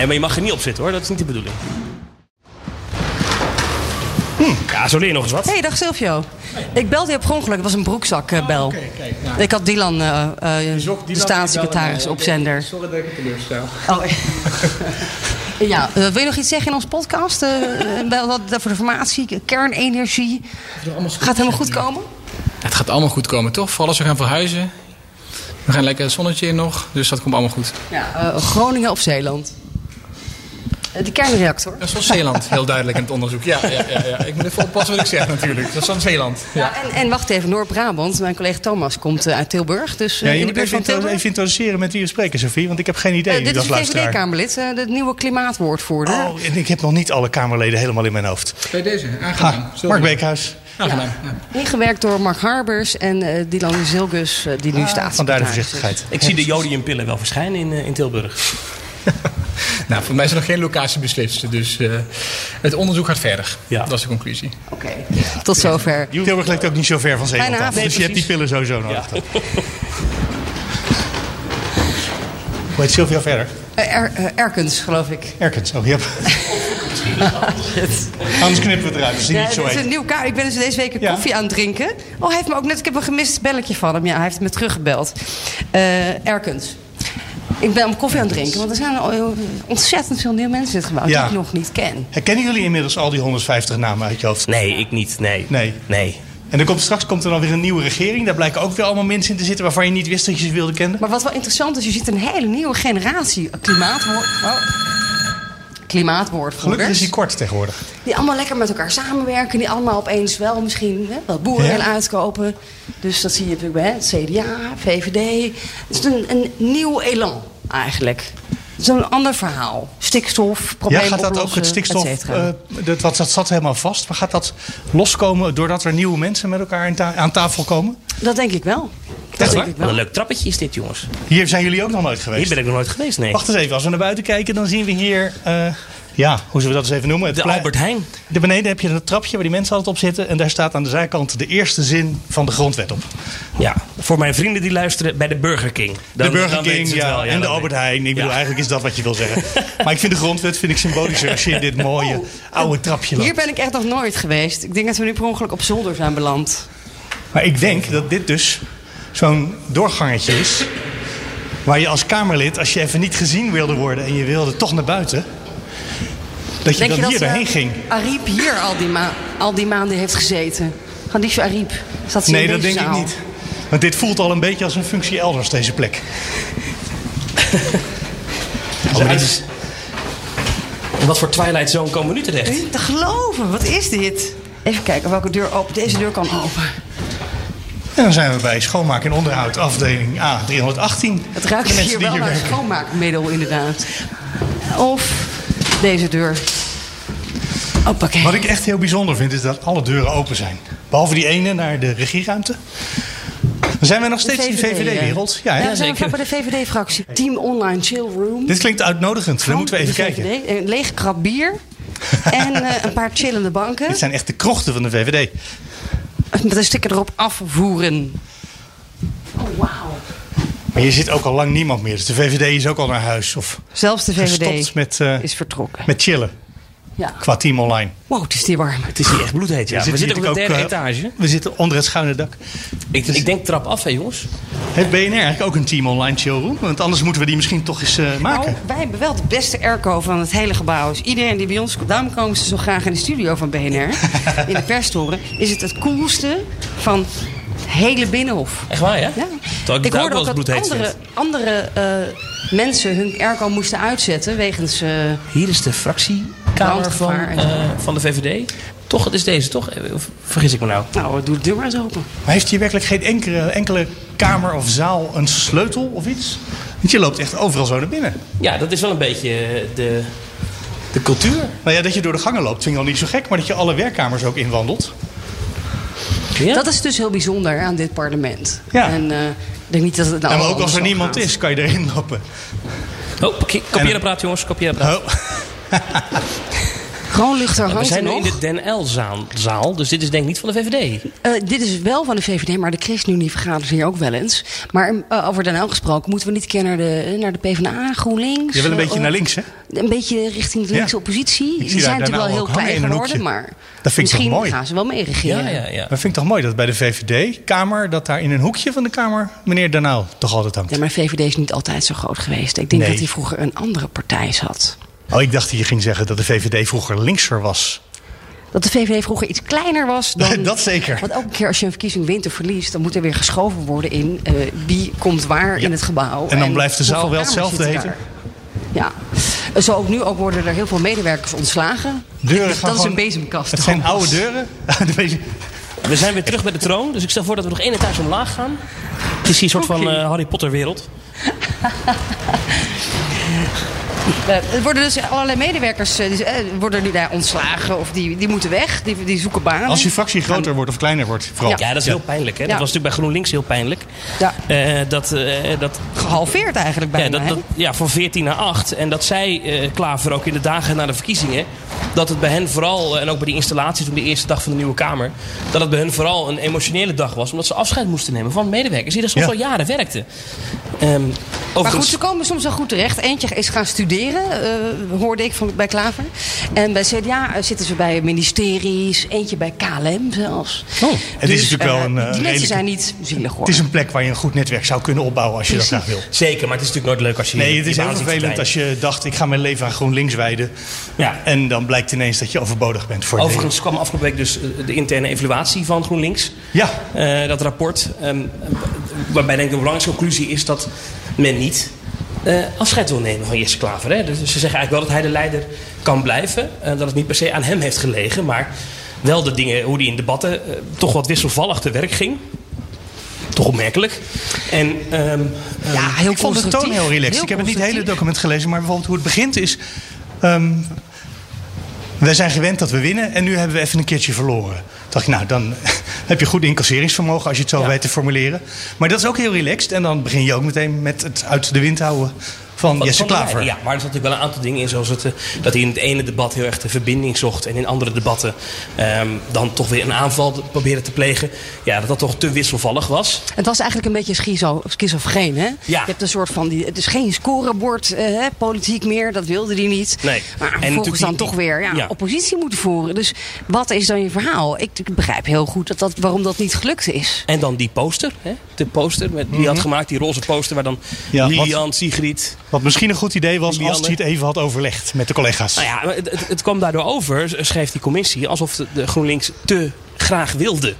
Speaker 4: Eh, maar je mag er niet op zitten hoor, dat is niet de bedoeling. Hm. Ja, zo leer je nog eens wat.
Speaker 3: Hey, dag Silvio. Ik belde je per ongeluk. Het was een
Speaker 2: Ah,
Speaker 3: broekzakbel.
Speaker 2: nou.
Speaker 3: Ik had Dylan, eh, eh, de
Speaker 2: eh,
Speaker 3: staatssecretaris, op zender.
Speaker 7: Sorry dat ik het teleurstel.
Speaker 3: Oh. ja, eh, wil je nog iets zeggen in onze podcast? Eh, eh, wel wat voor de formatie, kernenergie. Gaat het helemaal goed komen?
Speaker 7: Het gaat allemaal goed komen, toch? Vooral als we gaan verhuizen. We gaan lekker het zonnetje in nog, dus dat komt allemaal goed.
Speaker 3: Ja, eh, Groningen of Zeeland? Eh, De kernreactor.
Speaker 7: Dat is wel Zeeland, heel duidelijk in het onderzoek. Ja, ja, ja, ja. ik moet even oppassen wat ik zeg natuurlijk. Dat is van Zeeland. Ja.
Speaker 3: En, en wacht even, Noord-Brabant. Mijn collega Thomas komt eh, uit Tilburg. Dus eh,
Speaker 2: Ja, je
Speaker 3: in de
Speaker 2: moet
Speaker 3: buurt
Speaker 2: even,
Speaker 3: van
Speaker 2: intro-
Speaker 3: Tilburg.
Speaker 2: even introduceren met wie we spreken, Sophie. Want ik heb geen idee
Speaker 3: Eh,
Speaker 2: wie
Speaker 3: dit
Speaker 2: dat
Speaker 3: is
Speaker 2: als
Speaker 3: een
Speaker 2: luisteraar.
Speaker 3: VVD-Kamerlid, eh, de nieuwe klimaatwoordvoerder.
Speaker 2: Oh, en ik heb nog niet alle Kamerleden helemaal in mijn hoofd.
Speaker 7: Bij deze, aangenaam.
Speaker 2: Ha, Mark Beekhuis.
Speaker 7: Aangenaam.
Speaker 3: Ingewerkt door Mark Harbers en eh, Dylan Zilgus, eh, die nu staat.
Speaker 2: Ah. Vandaar de voorzichtigheid.
Speaker 4: Ik zie de jodiumpillen wel verschijnen in, eh, in Tilburg.
Speaker 7: Nou, voor mij is er nog geen locatie beslist, dus eh, het onderzoek gaat verder.
Speaker 4: Ja.
Speaker 7: Dat is de conclusie.
Speaker 3: Oké, tot zover. Eh,
Speaker 2: Tilburg lijkt ook niet zo ver van Zeeland
Speaker 3: Bijna.
Speaker 2: af.
Speaker 3: Nee,
Speaker 2: Dus je hebt die pillen sowieso nodig. dan. Hoe heet Sylvia verder?
Speaker 3: Eh, Er- eh, Erkens, geloof ik.
Speaker 2: Erkens. Oh, yep. Anders knippen we het eruit. Dat is
Speaker 3: Ja,
Speaker 2: niet
Speaker 3: dit
Speaker 2: zo
Speaker 3: is
Speaker 2: heet.
Speaker 3: een nieuw kaart. Ik ben dus deze week een
Speaker 2: Ja.
Speaker 3: koffie aan het drinken. Oh, hij heeft me ook net... Ik heb een gemist belletje van hem. Ja, hij heeft me teruggebeld. Eh, Erkens. Ik ben om koffie aan het drinken. Want er zijn al eh, ontzettend veel nieuwe mensen in het gebouw...
Speaker 2: Ja.
Speaker 3: die ik nog niet ken.
Speaker 2: Herkennen jullie inmiddels al die 150 namen uit je hoofd?
Speaker 4: Nee, ik niet. Nee.
Speaker 2: Nee.
Speaker 4: Nee.
Speaker 2: En er komt, straks komt er dan weer een nieuwe regering. Daar blijken ook weer allemaal mensen in te zitten waarvan je niet wist dat je ze wilde kennen.
Speaker 3: Maar wat wel interessant is, je ziet een hele nieuwe generatie klimaatwoord... Oh.
Speaker 2: Gelukkig is
Speaker 3: Klimaatwoordvoerders.
Speaker 2: die kort tegenwoordig.
Speaker 3: Die allemaal lekker met elkaar samenwerken. Die allemaal opeens wel misschien hè, wat boeren
Speaker 2: Ja.
Speaker 3: en uitkopen. Dus dat zie je natuurlijk bij hè, het CDA, VVD. Het is een, een nieuw elan eigenlijk. Het is een ander verhaal. Stikstof,
Speaker 2: Ja,
Speaker 3: problemen
Speaker 2: gaat dat
Speaker 3: oplossen,
Speaker 2: ook het stikstof,
Speaker 3: et cetera.
Speaker 2: eh, dat, dat, dat zat helemaal vast. Maar gaat dat loskomen doordat er nieuwe mensen met elkaar in ta- aan tafel komen?
Speaker 3: dat denk ik wel.
Speaker 2: Echt
Speaker 3: Dat denk
Speaker 2: waar?
Speaker 3: ik
Speaker 4: Wat een
Speaker 3: wel.
Speaker 4: leuk trappetje is dit, jongens.
Speaker 2: Hier zijn jullie ook nog nooit
Speaker 4: Hier
Speaker 2: geweest.
Speaker 4: ben ik nog nooit geweest, nee.
Speaker 2: Wacht eens even, als we naar buiten kijken, dan zien we hier... eh, ja, hoe zullen we dat eens even noemen? Het
Speaker 4: De
Speaker 2: plei-
Speaker 4: Albert Heijn.
Speaker 2: Daar beneden heb je dat trapje waar die mensen altijd op zitten. En daar staat aan de zijkant de eerste zin van de grondwet op.
Speaker 4: Ja. Voor mijn vrienden die luisteren, bij de Burger King. Dan-
Speaker 2: de Burger
Speaker 4: dan weten
Speaker 2: King
Speaker 4: ze het
Speaker 2: ja,
Speaker 4: wel,
Speaker 2: en de
Speaker 4: dan
Speaker 2: Albert
Speaker 4: weten-
Speaker 2: Heijn. Ik bedoel,
Speaker 4: Ja.
Speaker 2: eigenlijk is dat wat je wil zeggen. maar ik vind de grondwet vind ik symbolischer als je in dit mooie oude trapje loopt.
Speaker 3: Oh. Hier ben ik echt nog nooit geweest. Ik denk dat we nu per ongeluk op zolder zijn beland.
Speaker 2: Maar ik denk dat dit dus zo'n doorgangetje is. Waar je als Kamerlid, als je even niet gezien wilde worden en je wilde toch naar buiten. Dat je
Speaker 3: Denk
Speaker 2: dan
Speaker 3: je dat
Speaker 2: hier doorheen
Speaker 3: eh,
Speaker 2: ging.
Speaker 3: Ariep hier al die, ma- al die maanden heeft gezeten? Hadisha Ariep. Zat ze in
Speaker 2: Nee, dat
Speaker 3: deze
Speaker 2: denk ik
Speaker 3: zaal?
Speaker 2: niet. Want dit voelt al een beetje als een functie elders, deze plek.
Speaker 4: Ja, Oh, het is- In wat voor Twilight Zone komen we nu terecht?
Speaker 3: Niet te geloven, wat is dit? Even kijken welke deur open. Deze deur kan open.
Speaker 2: En dan zijn we bij schoonmaak en onderhoud, afdeling A318.
Speaker 3: Het ruikt
Speaker 2: De mensen die
Speaker 3: hier wel naar
Speaker 2: werken.
Speaker 3: schoonmaakmiddel, inderdaad. Of deze deur. Hoppakee.
Speaker 2: Wat ik echt heel bijzonder vind, is dat alle deuren open zijn. Behalve die ene naar de regieruimte. Dan zijn we nog steeds in de
Speaker 3: VVD,
Speaker 2: VVD-wereld. Ja, hè?
Speaker 3: eh. Ja, we zijn bij de VVD-fractie. Team Online Chill Room.
Speaker 2: Dit klinkt uitnodigend. Dan moeten we even
Speaker 3: De
Speaker 2: kijken.
Speaker 3: VVD, Een lege krab bier. en eh, een paar chillende banken.
Speaker 2: Dit zijn echt de krochten van de VVD.
Speaker 3: Met een sticker erop afvoeren. Oh, wauw.
Speaker 2: Maar hier zit ook al lang niemand meer. Dus de VVD is ook al naar huis. Of
Speaker 3: Zelfs de VVD
Speaker 2: gestopt met, eh,
Speaker 3: is vertrokken.
Speaker 2: met chillen.
Speaker 3: Ja.
Speaker 2: Qua team online.
Speaker 3: Wow, het is die warm.
Speaker 4: Het is hier echt bloedheet, ja. we zitten op
Speaker 2: hier
Speaker 4: de derde
Speaker 2: natuurlijk ook, eh,
Speaker 4: etage.
Speaker 2: We zitten onder het schuine dak.
Speaker 4: Ik, ik denk trap af, hè, jongens.
Speaker 2: Heeft BNR eigenlijk ook een team online chillroom? Want anders moeten we die misschien toch eens eh, maken.
Speaker 3: Nou, wij hebben wel de beste airco van het hele gebouw. Dus iedereen die bij ons komt, daarom komen ze zo graag in de studio van BNR. in de perstoren. Is het het koelste van het hele Binnenhof.
Speaker 4: Echt waar, hè?
Speaker 3: Ja.
Speaker 4: Terwijl ik,
Speaker 3: Ik
Speaker 4: daar
Speaker 3: hoorde
Speaker 4: ook
Speaker 3: ook
Speaker 4: wel
Speaker 3: dat
Speaker 4: eens bloedheet
Speaker 3: andere,
Speaker 4: vind.
Speaker 3: andere eh, mensen hun airco moesten uitzetten wegens... eh,
Speaker 4: Hier is de fractiekamer van,
Speaker 3: Brandgevaar en-
Speaker 4: eh, van de VVD. Toch, het is deze, toch? Eh, Of vergis ik me nou?
Speaker 3: nou, doe de deur maar eens open.
Speaker 2: Maar heeft hier werkelijk geen enkele, enkele kamer of zaal een sleutel of iets? Want je loopt echt overal zo naar binnen.
Speaker 4: Ja, dat is wel een beetje eh, de, de cultuur.
Speaker 2: Nou ja, dat je door de gangen loopt vind ik al niet zo gek, maar dat je alle werkkamers ook inwandelt.
Speaker 3: Nou,
Speaker 4: Ja?
Speaker 3: Dat is dus heel bijzonder aan dit parlement.
Speaker 2: Ja.
Speaker 3: En eh, ik denk niet dat het nou
Speaker 2: en maar ook
Speaker 3: anders
Speaker 2: als er
Speaker 3: zal
Speaker 2: niemand
Speaker 3: gaan.
Speaker 2: is, kan je erin lopen.
Speaker 4: Oh, kopie- kopieerapparaat jongens, kopieerapparaat.
Speaker 2: Oh,
Speaker 3: Kroonluchter
Speaker 4: We
Speaker 3: hangt er
Speaker 4: zijn nu
Speaker 3: nog.
Speaker 4: in de Den L-zaal, zaal, dus dit is denk ik niet van de VVD.
Speaker 3: Eh, dit is wel van de VVD, maar de ChristenUnie vergadert hier ook wel eens. Maar eh, over Den Haag gesproken, moeten we niet een keer naar de, eh, naar de PvdA, GroenLinks?
Speaker 2: je wil een
Speaker 3: eh,
Speaker 2: beetje naar links, hè?
Speaker 3: Een beetje richting de
Speaker 2: Ja.
Speaker 3: linkse oppositie.
Speaker 2: zie
Speaker 3: Die
Speaker 2: daar
Speaker 3: zijn
Speaker 2: Den
Speaker 3: natuurlijk wel
Speaker 2: Uyl
Speaker 3: heel
Speaker 2: ook hangen
Speaker 3: klein
Speaker 2: in een
Speaker 3: geworden,
Speaker 2: hoekje.
Speaker 3: maar
Speaker 2: Dat vind ik toch
Speaker 3: misschien
Speaker 2: mooi?
Speaker 3: gaan ze wel mee regeren.
Speaker 4: Ja, ja, ja.
Speaker 2: Maar vind ik toch mooi dat bij de VVD, Kamer, dat daar in een hoekje van de Kamer meneer Danaal toch altijd hangt.
Speaker 3: Ja, maar de VVD is niet altijd zo groot geweest. Ik denk
Speaker 2: Nee.
Speaker 3: dat hij vroeger een andere partij zat.
Speaker 2: Oh, ik dacht dat je ging zeggen dat de VVD vroeger linkser was.
Speaker 3: Dat de VVD vroeger iets kleiner was dan...
Speaker 2: dat zeker.
Speaker 3: Want elke keer als je een verkiezing wint of verliest... dan moet er weer geschoven worden in eh, wie komt waar in het gebouw.
Speaker 2: En dan blijft de zaal
Speaker 3: hoeveel
Speaker 2: wel
Speaker 3: kamers
Speaker 2: hetzelfde
Speaker 3: zitten daar. Ja. Eh, Zo ook nu ook worden er heel veel medewerkers ontslagen.
Speaker 2: Deuren
Speaker 3: dat
Speaker 2: gaan
Speaker 3: is een
Speaker 2: gewoon-
Speaker 3: bezemkast.
Speaker 2: Het zijn
Speaker 3: Thomas.
Speaker 2: oude deuren. De bezem-
Speaker 4: We zijn weer terug bij de troon, dus ik stel voor dat we nog één etage omlaag gaan. Het is hier een soort van eh, Harry Potter wereld.
Speaker 3: Eh, Er worden dus allerlei medewerkers eh, die, eh, worden nu daar ontslagen of die, die moeten weg. Die, die zoeken banen.
Speaker 2: Als je fractie groter wordt of kleiner wordt, vooral.
Speaker 4: Ja, dat is heel pijnlijk. Hè?
Speaker 3: Ah, Ja.
Speaker 4: Dat was natuurlijk bij GroenLinks heel pijnlijk.
Speaker 3: Ja.
Speaker 4: Eh, dat, eh, dat,
Speaker 3: Gehalveerd eigenlijk bijna.
Speaker 4: ja, dat,
Speaker 3: hè?
Speaker 4: dat, ja, van 14 naar 8. En dat zij eh klaver ook in de dagen na de verkiezingen. Dat het bij hen vooral, eh, en ook bij die installatie toen de eerste dag van de nieuwe Kamer. Dat het bij hen vooral een emotionele dag was. Omdat ze afscheid moesten nemen van medewerkers die er soms
Speaker 2: Ja.
Speaker 4: al jaren werkten. Ehm
Speaker 3: Maar goed,
Speaker 4: overigens-
Speaker 2: dus-
Speaker 3: ze komen soms wel goed terecht. Eentje is gaan studeren, eh, hoorde ik van, bij Klaver. En bij CDA eh, zitten ze bij ministeries, eentje bij KLM zelfs.
Speaker 4: Oh,
Speaker 2: het is natuurlijk wel
Speaker 3: eh,
Speaker 2: een, eh,
Speaker 3: Die mensen
Speaker 2: redelijke-
Speaker 3: zijn niet zielig hoor.
Speaker 2: Het is een plek waar je een goed netwerk zou kunnen opbouwen als je dat graag wil.
Speaker 4: Zeker, maar het is natuurlijk nooit leuk als je.
Speaker 2: Nee,
Speaker 4: je-
Speaker 2: het
Speaker 4: je
Speaker 2: is heel
Speaker 4: baan ziet
Speaker 2: vervelend als
Speaker 4: verdwijnen.
Speaker 2: je dacht, ik ga mijn leven aan GroenLinks wijden.
Speaker 4: Ja.
Speaker 2: En dan blijkt ineens dat je overbodig bent voor
Speaker 4: Overigens kwam afgelopen week dus eh, de interne evaluatie van GroenLinks.
Speaker 2: Ja.
Speaker 4: Eh, dat rapport. ehm, waarbij denk ik de belangrijkste conclusie is dat men niet eh, afscheid wil nemen van Jesse Klaver. Hè? Dus ze zeggen eigenlijk wel dat hij de leider kan blijven. en dat het niet per se aan hem heeft gelegen. Maar wel de dingen, hoe hij in debatten eh, toch wat wisselvallig te werk ging. Toch opmerkelijk. En ehm,
Speaker 3: ja, heel
Speaker 2: Ik vond de toon
Speaker 3: constructief.
Speaker 2: heel relaxed. ik heb het niet het hele document gelezen, maar bijvoorbeeld hoe het begint is... ehm, wij zijn gewend dat we winnen en nu hebben we even een keertje verloren. Toen dacht ik, nou, dan heb je goed incasseringsvermogen als je het zo
Speaker 4: Ja.
Speaker 2: weet te formuleren. Maar dat is ook heel relaxed. En dan begin je ook meteen met het uit de wind houden van
Speaker 4: Wat
Speaker 2: Jesse
Speaker 4: van de
Speaker 2: Klaver.
Speaker 4: leider, Ja, maar er zat natuurlijk wel een aantal dingen in. Zoals het, eh, dat hij in het ene debat heel erg de verbinding zocht. En in andere debatten ehm, dan toch weer een aanval te- proberen te plegen. Ja, dat dat toch te wisselvallig was.
Speaker 3: Het was eigenlijk een beetje schizo, schizofreen, hè?
Speaker 4: Ja.
Speaker 3: Je hebt een soort van, die, het is geen scorebord eh, hè, politiek meer, dat wilde hij niet.
Speaker 4: Nee.
Speaker 3: Maar
Speaker 4: En
Speaker 3: vervolgens
Speaker 4: natuurlijk
Speaker 3: dan
Speaker 4: die-
Speaker 3: toch weer ja,
Speaker 4: ja.
Speaker 3: oppositie moeten voeren. Dus wat is dan je verhaal? Ik, ik begrijp heel goed dat dat, waarom dat niet gelukt is.
Speaker 4: En dan die poster. Hè? De poster met, die had gemaakt. Die roze poster waar dan
Speaker 2: Mhm. Ja, wat-
Speaker 4: Lilian, Sigrid...
Speaker 2: Wat misschien een goed idee was als
Speaker 4: Julianne.
Speaker 2: hij het even had overlegd met de collega's.
Speaker 4: Nou ja, maar het, het, het kwam daardoor over, eh, schreef die commissie... alsof de, de GroenLinks te graag wilde.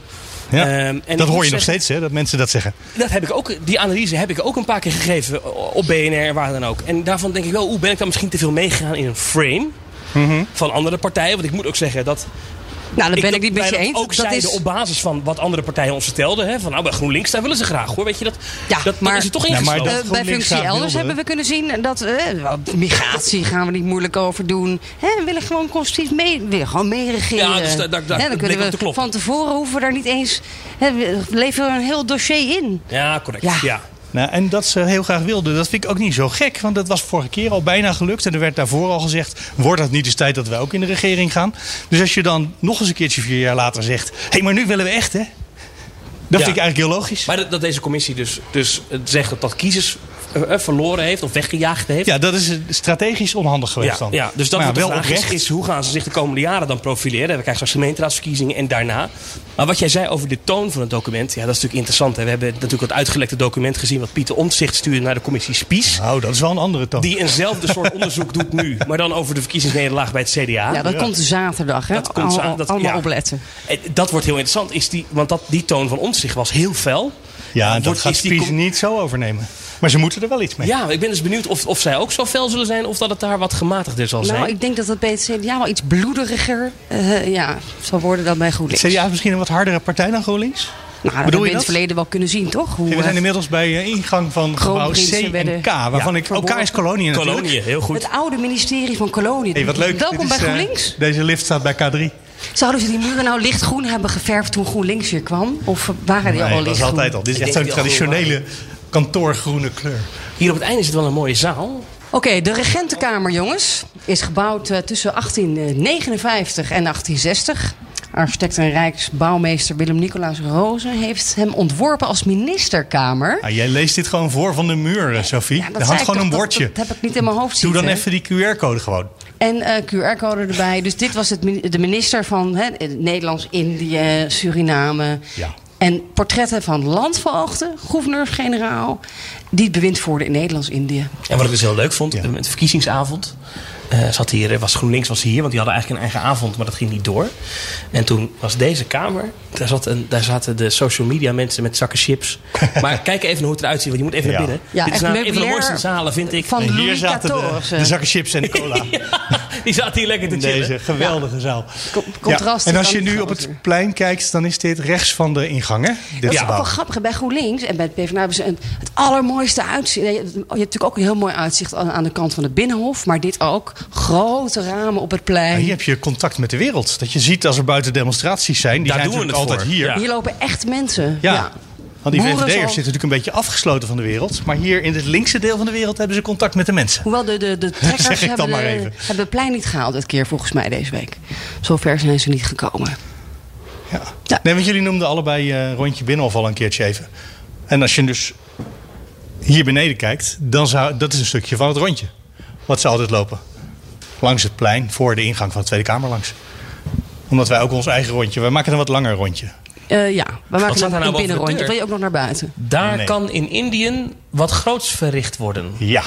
Speaker 2: Ja.
Speaker 4: Ehm, en
Speaker 2: dat
Speaker 4: ik
Speaker 2: hoor je
Speaker 4: moet
Speaker 2: nog
Speaker 4: zeggen-
Speaker 2: steeds, hè, dat mensen dat zeggen.
Speaker 4: Dat heb ik ook, die analyse heb ik ook een paar keer gegeven eh, op BNR, waar dan ook. En daarvan denk ik wel, oeh, ben ik dan misschien te veel meegegaan in een frame
Speaker 2: Mhm.
Speaker 4: van andere partijen? Want ik moet ook zeggen dat.
Speaker 3: Nou, daar ben ik,
Speaker 4: dat
Speaker 3: niet met je
Speaker 4: wij dat
Speaker 3: eens.
Speaker 4: Ook zeiden op basis van wat andere partijen ons vertelden. Hè, van nou, bij GroenLinks, daar willen ze graag hoor. Weet je dat?
Speaker 3: Ja,
Speaker 4: dat, dat
Speaker 3: maar-
Speaker 4: is er toch
Speaker 2: Ja, maar
Speaker 4: ingesloten.
Speaker 2: dat-
Speaker 3: Eh, bij
Speaker 2: GroenLinks
Speaker 3: functie
Speaker 2: graag
Speaker 3: elders
Speaker 2: wilde.
Speaker 3: hebben we kunnen zien dat eh, wat migratie gaan we niet moeilijk over doen. Hè, we willen gewoon constructief mee, we willen gewoon meeregeren.
Speaker 4: Ja, dus da- da- da-
Speaker 3: Hè, dan
Speaker 4: dat
Speaker 3: kunnen
Speaker 4: bleek ook te
Speaker 3: we
Speaker 4: kloppen.
Speaker 3: van tevoren hoeven we daar niet eens. Hè, we leveren een heel dossier in.
Speaker 4: Ja, correct.
Speaker 3: Ja.
Speaker 4: Ja.
Speaker 2: Nou, en dat ze heel graag wilden, dat vind ik ook niet zo gek. Want dat was vorige keer al bijna gelukt. En er werd daarvoor al gezegd, wordt het niet eens tijd dat wij ook in de regering gaan? Dus als je dan nog eens een keertje vier jaar later zegt... hé, maar nu willen we echt, hè? Dat
Speaker 4: Ja.
Speaker 2: vind ik eigenlijk heel logisch.
Speaker 4: Maar dat, dat deze commissie dus, dus eh, zegt dat dat kiezers eh, eh, verloren heeft of weggejaagd heeft.
Speaker 2: Ja, dat is eh, strategisch onhandig geweest
Speaker 4: Ja,
Speaker 2: dan.
Speaker 4: ja, dus dat
Speaker 2: maar
Speaker 4: wat de
Speaker 2: wel
Speaker 4: vraag is,
Speaker 2: oprecht.
Speaker 4: is, hoe gaan ze zich de komende jaren dan profileren? We krijgen straks gemeenteraadsverkiezingen en daarna. Maar wat jij zei over de toon van het document, ja, dat is natuurlijk interessant. Hè? We hebben natuurlijk het uitgelekte document gezien wat Pieter Omtzigt stuurde naar de commissie Spies.
Speaker 2: Nou, dat is wel een andere toon.
Speaker 4: Die eenzelfde soort onderzoek doet nu, maar dan over de verkiezingsnederlaag bij het CDA.
Speaker 3: Ja, dat
Speaker 2: ja.
Speaker 3: komt zaterdag. Hè?
Speaker 4: Dat komt za-
Speaker 3: Al-
Speaker 4: dat-
Speaker 3: allemaal
Speaker 4: ja.
Speaker 3: opletten.
Speaker 4: En Eh, dat wordt heel interessant, is die, want dat, die toon van Omtzigt was heel fel.
Speaker 2: Ja, en dat
Speaker 4: Wordt-
Speaker 2: gaat
Speaker 4: is die
Speaker 2: Spies
Speaker 4: com-
Speaker 2: niet zo overnemen. Maar ze moeten er wel iets mee.
Speaker 4: Ja, ik ben dus benieuwd of, of zij ook zo fel zullen zijn of dat het daar wat gematigder zal zijn.
Speaker 3: Nou, ik denk dat dat bij het CDA wel iets bloederiger eh, ja, zal worden dan bij GroenLinks.
Speaker 2: Het CDA is misschien een wat hardere partij dan GroenLinks?
Speaker 3: Nou, dat
Speaker 2: Bedoel
Speaker 3: hebben
Speaker 2: je
Speaker 3: we in
Speaker 2: dat?
Speaker 3: het verleden wel kunnen zien, toch? Hoe,
Speaker 2: We zijn
Speaker 3: eh,
Speaker 2: inmiddels bij eh, ingang van gebouw C
Speaker 3: Kroonprinsen
Speaker 2: en
Speaker 3: werden-
Speaker 2: K. Waarvan ik... Oh, K is kolonie natuurlijk.
Speaker 4: Kolonie, heel goed.
Speaker 3: het oude ministerie van Koloniën.
Speaker 2: Hey, wat leuk.
Speaker 3: Welkom
Speaker 2: Dit
Speaker 3: bij
Speaker 2: is, eh,
Speaker 3: GroenLinks.
Speaker 2: deze lift staat bij K3.
Speaker 3: Zouden ze die muren nou lichtgroen hebben geverfd toen GroenLinks hier kwam? Of waren die al
Speaker 2: Nee, dat is
Speaker 3: lichtgroen?
Speaker 2: altijd al. Dit is
Speaker 4: Ik
Speaker 2: echt
Speaker 4: denk
Speaker 2: zo'n
Speaker 4: die al
Speaker 2: traditionele kantoorgroene kleur.
Speaker 4: Hier op het einde zit wel een mooie zaal.
Speaker 3: Oké, de Regentenkamer, jongens, is gebouwd eh, tussen 1859 en 1860. Architect en Rijksbouwmeester Willem Nicolaas Rozen heeft hem ontworpen als ministerkamer.
Speaker 2: Ah, jij leest dit gewoon voor van de muur, eh, Sophie.
Speaker 3: Ja, dat
Speaker 2: er
Speaker 3: zei
Speaker 2: hangt
Speaker 3: ik
Speaker 2: gewoon een
Speaker 3: toch, dat-
Speaker 2: bordje.
Speaker 3: Dat, heb ik niet in mijn hoofd
Speaker 2: Doe dan
Speaker 3: zitten.
Speaker 2: even die QR-code gewoon.
Speaker 3: En eh, QR-code erbij. Dus dit was het, min- de minister van hè, Nederlands-Indië, Suriname.
Speaker 2: Ja.
Speaker 3: En portretten van landvoogden, gouverneur-generaal... die het bewind voerden in Nederlands-Indië.
Speaker 4: En wat ik dus heel leuk vond,
Speaker 2: Ja.
Speaker 4: eh, met de verkiezingsavond. eh, zat hier, eh, was GroenLinks was hier, want die hadden eigenlijk een eigen avond, maar dat ging niet door. En toen was deze kamer, daar, zat een, daar zaten de social media mensen met zakken chips. maar kijk even hoe het eruit ziet, want je moet even naar
Speaker 2: Ja.
Speaker 4: binnen.
Speaker 3: Ja,
Speaker 4: Dit is
Speaker 3: echt
Speaker 4: namelijk een van de
Speaker 3: meubilair
Speaker 4: mooiste zalen, vind ik.
Speaker 3: Van
Speaker 2: En hier
Speaker 3: Louis
Speaker 2: zaten
Speaker 3: XIV.
Speaker 2: de, de zakken chips en de cola.
Speaker 4: die zaten hier lekker te
Speaker 2: In
Speaker 4: chillen.
Speaker 2: deze geweldige zaal.
Speaker 3: Co- contrast
Speaker 2: En
Speaker 3: is
Speaker 2: als je
Speaker 3: dan
Speaker 2: nu op
Speaker 3: groter.
Speaker 2: het plein kijkt, dan is dit rechts van de ingang, hè? Dit
Speaker 3: Dat is ook
Speaker 2: gebouw.
Speaker 3: wel grappig. Bij GroenLinks en bij het PvdA hebben ze een, het allermooiste uitzicht. Nee, Je hebt natuurlijk ook een heel mooi uitzicht aan, aan de kant van het Binnenhof. Maar dit ook. Grote ramen op het plein.
Speaker 2: Maar hier heb je contact met de wereld. Dat je ziet als er buiten demonstraties zijn. Die
Speaker 4: Daar
Speaker 2: zijn
Speaker 4: doen we
Speaker 2: natuurlijk
Speaker 4: het
Speaker 2: altijd
Speaker 4: voor.
Speaker 2: hier.
Speaker 4: Ja.
Speaker 3: Hier lopen echt mensen.
Speaker 2: Ja. Want die VVD'ers
Speaker 3: Boeren zal-
Speaker 2: zitten natuurlijk een beetje afgesloten van de wereld. Maar hier in het linkse deel van de wereld hebben ze contact met de mensen.
Speaker 3: Hoewel de, de, de trekkers
Speaker 2: Zeg ik dan
Speaker 3: hebben,
Speaker 2: maar
Speaker 3: de-
Speaker 2: even.
Speaker 3: hebben het plein niet gehaald dit keer volgens mij deze week. Zover zijn ze niet gekomen.
Speaker 2: Ja.
Speaker 3: Ja.
Speaker 2: Nee, want jullie noemden allebei eh, rondje binnenhof al een keertje even. En als je dus hier beneden kijkt, dan zou dat is een stukje van het rondje. Wat ze altijd lopen. Langs het plein, voor de ingang van de Tweede Kamer langs. Omdat wij ook ons eigen rondje, wij maken een wat langer rondje.
Speaker 3: Eh, ja, we maken
Speaker 4: staat
Speaker 3: een,
Speaker 4: daar nou boven
Speaker 3: een
Speaker 4: de
Speaker 3: binnenrondje.
Speaker 4: deur?
Speaker 3: Wil je ook nog naar buiten?
Speaker 4: Daar
Speaker 2: Nee.
Speaker 4: kan in Indië wat groots verricht worden.
Speaker 2: Ja.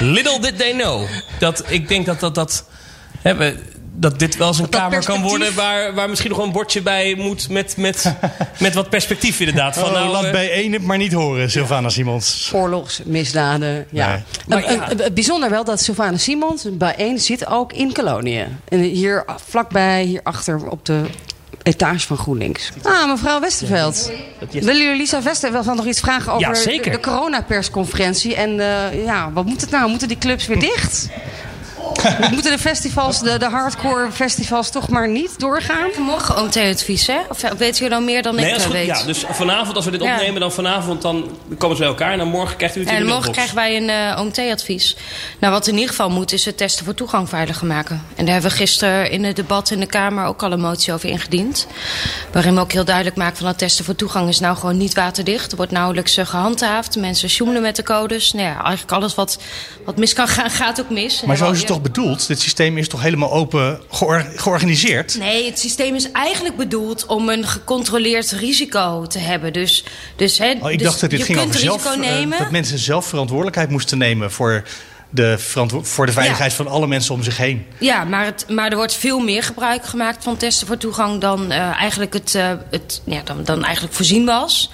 Speaker 4: Little did they know. Dat, ik denk dat, dat, dat, hè, we- dat dit wel eens een
Speaker 3: dat
Speaker 4: kamer kan
Speaker 3: perspectief-
Speaker 4: worden... Waar, waar misschien nog wel een bordje bij moet met, met, met wat perspectief inderdaad. Van,
Speaker 2: Oh,
Speaker 4: nou,
Speaker 2: laat
Speaker 4: eh,
Speaker 2: bij één het maar niet horen, Sylvana Simons.
Speaker 3: Oorlogsmisdaden. Ja.
Speaker 2: Nee.
Speaker 3: Eh,
Speaker 4: Maar ja.
Speaker 3: eh, eh, bijzonder wel dat Sylvana Simons bijeen zit ook in koloniën. En hier vlakbij, hierachter op de etage van GroenLinks. Ah, mevrouw Westerveld. Willen jullie Lisa Westerveld nog iets vragen over
Speaker 4: Ja, zeker.
Speaker 3: de, de coronapersconferentie? En eh, ja, wat moet het nou? Moeten die clubs weer dicht? Moeten de festivals, de, de hardcore festivals, toch maar niet doorgaan?
Speaker 6: Morgen OMT advies, hè? Of eh, ja, weet u dan meer dan
Speaker 4: Nee,
Speaker 6: ik
Speaker 4: als
Speaker 6: dat
Speaker 4: goed,
Speaker 6: weet?
Speaker 4: ja, dus vanavond, als we dit
Speaker 6: Ja.
Speaker 4: opnemen, dan vanavond dan komen ze bij elkaar. En dan morgen krijgt u het in
Speaker 6: en
Speaker 4: de
Speaker 6: morgen
Speaker 4: mailbox.
Speaker 6: krijgen wij een eh, OMT-advies. Nou, wat in ieder geval moet, is het testen voor toegang veiliger maken. En daar hebben we gisteren in het debat in de Kamer ook al een motie over ingediend. Waarin we ook heel duidelijk maken van dat testen voor toegang is nou gewoon niet waterdicht. Er wordt nauwelijks eh, gehandhaafd. Mensen sjoemelen met de codes. Nou ja, eigenlijk alles wat, wat mis kan gaan, gaat ook mis.
Speaker 2: Maar zo is
Speaker 6: Ja.
Speaker 2: het toch bedoeld? Dit systeem is toch helemaal open geor- georganiseerd?
Speaker 6: Nee, het systeem is eigenlijk bedoeld om een gecontroleerd risico te hebben. Dus, dus, hè,
Speaker 2: Oh, ik
Speaker 6: dus
Speaker 2: dacht dat dit
Speaker 6: je
Speaker 2: ging
Speaker 6: kunt
Speaker 2: over zelf,
Speaker 6: risico
Speaker 2: eh,
Speaker 6: nemen.
Speaker 2: dat mensen zelf verantwoordelijkheid moesten nemen voor de, verantwo- voor de veiligheid
Speaker 6: Ja.
Speaker 2: van alle mensen om zich heen.
Speaker 6: Ja, maar, het, maar er wordt veel meer gebruik gemaakt van testen voor toegang dan, eh, eigenlijk, het, eh, het, ja, dan, dan eigenlijk voorzien was.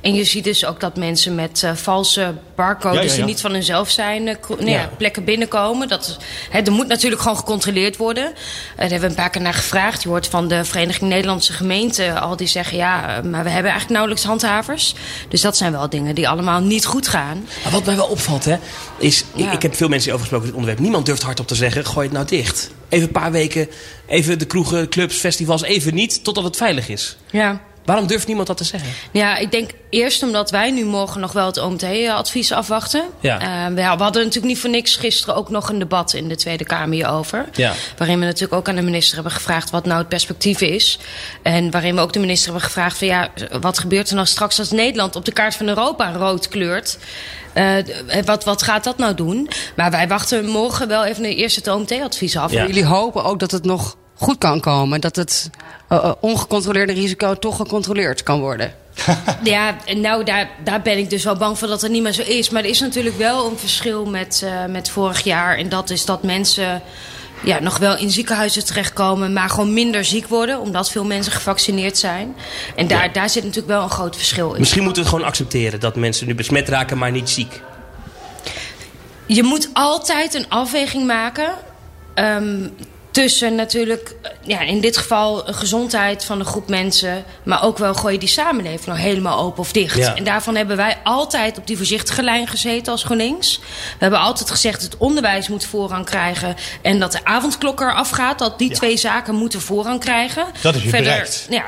Speaker 6: En je ziet dus ook dat mensen met eh, valse barcodes
Speaker 2: Ja, ja, ja.
Speaker 6: die niet van hunzelf zijn, eh, kro- nou ja,
Speaker 4: Ja.
Speaker 6: plekken binnenkomen. Dat, hè, er moet natuurlijk gewoon gecontroleerd worden. Eh, daar hebben we een paar keer naar gevraagd. Je hoort van de Vereniging Nederlandse Gemeenten al die zeggen... ja, eh, maar we hebben eigenlijk nauwelijks handhavers. Dus dat zijn wel dingen die allemaal niet goed gaan.
Speaker 4: Maar wat mij wel opvalt, hè, is...
Speaker 6: Ja.
Speaker 4: Ik, ik heb veel mensen over gesproken over dit onderwerp. Niemand durft hardop te zeggen, gooi het nou dicht. Even een paar weken, even de kroegen, clubs, festivals, even niet, totdat het veilig is.
Speaker 6: Ja.
Speaker 4: Waarom durft niemand dat te zeggen?
Speaker 6: Ja, ik denk eerst omdat wij nu morgen nog wel het OMT-advies afwachten.
Speaker 4: Ja.
Speaker 6: Eh, we, we hadden natuurlijk niet voor niks gisteren ook nog een debat in de Tweede Kamer hierover.
Speaker 4: Ja.
Speaker 6: Waarin we natuurlijk ook aan de minister hebben gevraagd wat nou het perspectief is. En waarin we ook de minister hebben gevraagd van ja, wat gebeurt er nou straks als Nederland op de kaart van Europa rood kleurt? Eh, d- wat, wat gaat dat nou doen? Maar wij wachten morgen wel even eerst het OMT-advies af.
Speaker 4: Ja.
Speaker 3: Jullie hopen ook dat het nog goed kan komen. Dat het eh, eh, ongecontroleerde risico toch gecontroleerd kan worden.
Speaker 6: Ja, en nou, daar, daar ben ik dus wel bang voor dat het niet meer zo is. Maar er is natuurlijk wel een verschil met, eh, met vorig jaar. En dat is dat mensen ja, nog wel in ziekenhuizen terechtkomen... maar gewoon minder ziek worden, omdat veel mensen gevaccineerd zijn. En daar, daar zit natuurlijk wel een groot verschil in.
Speaker 4: Misschien moeten we het gewoon accepteren dat mensen nu besmet raken, maar niet ziek.
Speaker 6: Je moet altijd een afweging maken... ehm, tussen natuurlijk, eh, ja, in dit geval eh, gezondheid van een groep mensen. Maar ook wel gooi je die samenleving nou helemaal open of dicht.
Speaker 4: Ja.
Speaker 6: En daarvan hebben wij altijd op die voorzichtige lijn gezeten als GroenLinks. We hebben altijd gezegd dat het onderwijs moet voorrang krijgen. En dat de avondklok eraf gaat. Dat die twee zaken moeten voorrang krijgen.
Speaker 2: Dat is weer
Speaker 6: Verder,
Speaker 2: bereikt.
Speaker 6: Ja,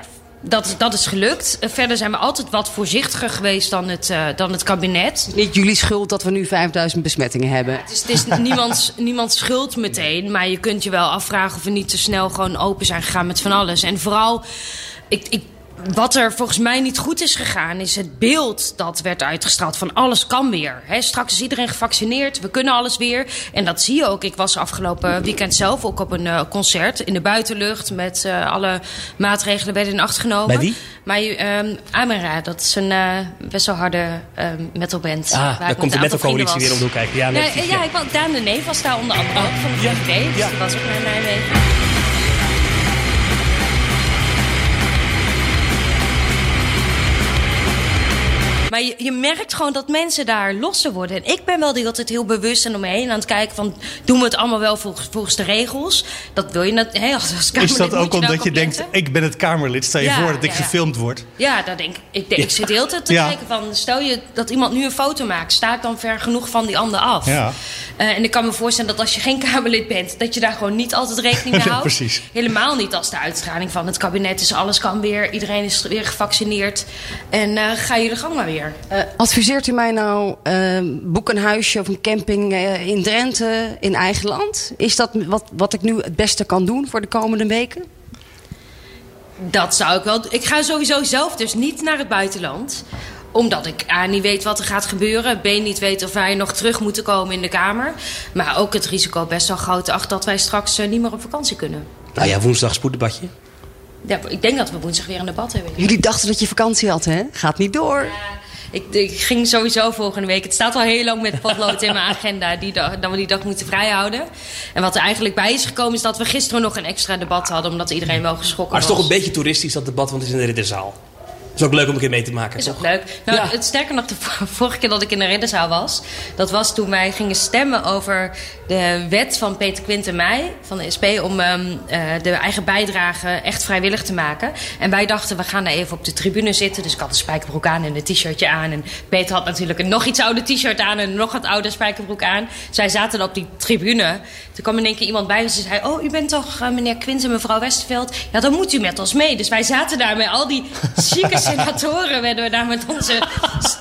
Speaker 6: dat, dat is gelukt. Eh, Verder zijn we altijd wat voorzichtiger geweest dan het, eh, dan het kabinet.
Speaker 3: Niet jullie schuld dat we nu 5000 besmettingen hebben.
Speaker 6: Het is, het is niemands, niemands schuld meteen. Maar je kunt je wel afvragen of we niet te snel gewoon open zijn gegaan met van alles. En vooral, ik, ik, wat er volgens mij niet goed is gegaan, is het beeld dat werd uitgestraald van alles kan weer. Hè, straks is iedereen gevaccineerd, we kunnen alles weer. En dat zie je ook. Ik was afgelopen weekend zelf ook op een eh, concert in de buitenlucht. Met eh, alle maatregelen werden in acht genomen.
Speaker 4: Bij wie?
Speaker 6: Maar ehm Amara, dat is een eh, best wel harde ehm metalband. waar
Speaker 4: Ah,
Speaker 6: ik
Speaker 4: daar
Speaker 6: met
Speaker 4: komt de
Speaker 6: een aantal
Speaker 4: metalcoalitie
Speaker 6: vrienden was.
Speaker 4: weer om de hoek kijken. Ja, nee,
Speaker 6: Nee, eh,
Speaker 4: precies,
Speaker 6: ja, ik wou, Daan de Neef was daar onder andere ook van de
Speaker 4: ja,
Speaker 6: VVD, dus
Speaker 4: ja.
Speaker 6: die was ook naar Nijmegen. Maar je, je merkt gewoon dat mensen daar losser worden. En ik ben wel die altijd heel bewust en omheen aan het kijken van... doen we het allemaal wel volgens, volgens de regels? Dat wil je net, hè, als, als
Speaker 2: Is
Speaker 6: Kamerlid
Speaker 2: dat
Speaker 6: moet
Speaker 2: ook
Speaker 6: je daar
Speaker 2: omdat je
Speaker 6: op
Speaker 2: denkt,
Speaker 6: letten.
Speaker 2: ik ben het Kamerlid, stel je
Speaker 6: Ja,
Speaker 2: voor dat ik
Speaker 6: ja, ja.
Speaker 2: gefilmd word?
Speaker 6: Ja, dat denk ik. Ik, denk, ik zit de hele tijd te
Speaker 2: Ja.
Speaker 6: kijken van... stel je dat iemand nu een foto maakt... sta ik dan ver genoeg van die ander af?
Speaker 2: Ja.
Speaker 6: Eh, en ik kan me voorstellen dat als je geen Kamerlid bent... dat je daar gewoon niet altijd rekening mee
Speaker 2: Ja,
Speaker 6: houdt.
Speaker 2: precies.
Speaker 6: Helemaal niet als de uitstraling van het kabinet is... alles kan weer, iedereen is weer gevaccineerd... en eh, ga je de gang maar weer.
Speaker 3: Eh, adviseert u mij nou, eh, boek een huisje of een camping eh, in Drenthe, in eigen land? Is dat wat, wat ik nu het beste kan doen voor de komende weken?
Speaker 6: Dat zou ik wel. d- Ik ga sowieso zelf dus niet naar het buitenland omdat ik A, niet weet wat er gaat gebeuren. B, niet weet of wij nog terug moeten komen in de Kamer. Maar ook het risico best wel groot acht dat wij straks eh, niet meer op vakantie kunnen.
Speaker 4: Nou ja, woensdag spoeddebatje.
Speaker 6: Ja, ik denk dat we woensdag weer een debat hebben.
Speaker 3: Jullie dachten dat je vakantie had, hè? Gaat niet door.
Speaker 6: Ik, ik ging sowieso volgende week. Het staat al heel lang met potlood in mijn agenda. Die dag, dat we die dag moeten vrijhouden. En wat er eigenlijk bij is gekomen is dat we gisteren nog een extra debat hadden. Omdat iedereen wel geschrokken
Speaker 4: Maar het
Speaker 6: was.
Speaker 4: is toch een beetje toeristisch dat debat, want het is in de Ridderzaal. Het is ook leuk om een keer mee te maken.
Speaker 6: Is
Speaker 4: toch?
Speaker 6: ook leuk. Nou,
Speaker 4: Ja.
Speaker 6: het, sterker nog, de vor- vorige keer dat ik in de Ridderzaal was... dat was toen wij gingen stemmen over de wet van Peter Quinten Meij van de SP... om ehm, eh, de eigen bijdrage echt vrijwillig te maken. En wij dachten, we gaan daar even op de tribune zitten. Dus ik had een spijkerbroek aan en een t-shirtje aan. En Peter had natuurlijk een nog iets ouder t-shirt aan... en een nog wat ouder spijkerbroek aan. Zij zaten op die tribune. Toen kwam in één keer iemand bij en ze zei... oh, u bent toch eh, meneer Quinten, mevrouw Westerveld? Ja, dan moet u met ons mee. Dus wij zaten daar met al die chique senatoren... werden we daar met onze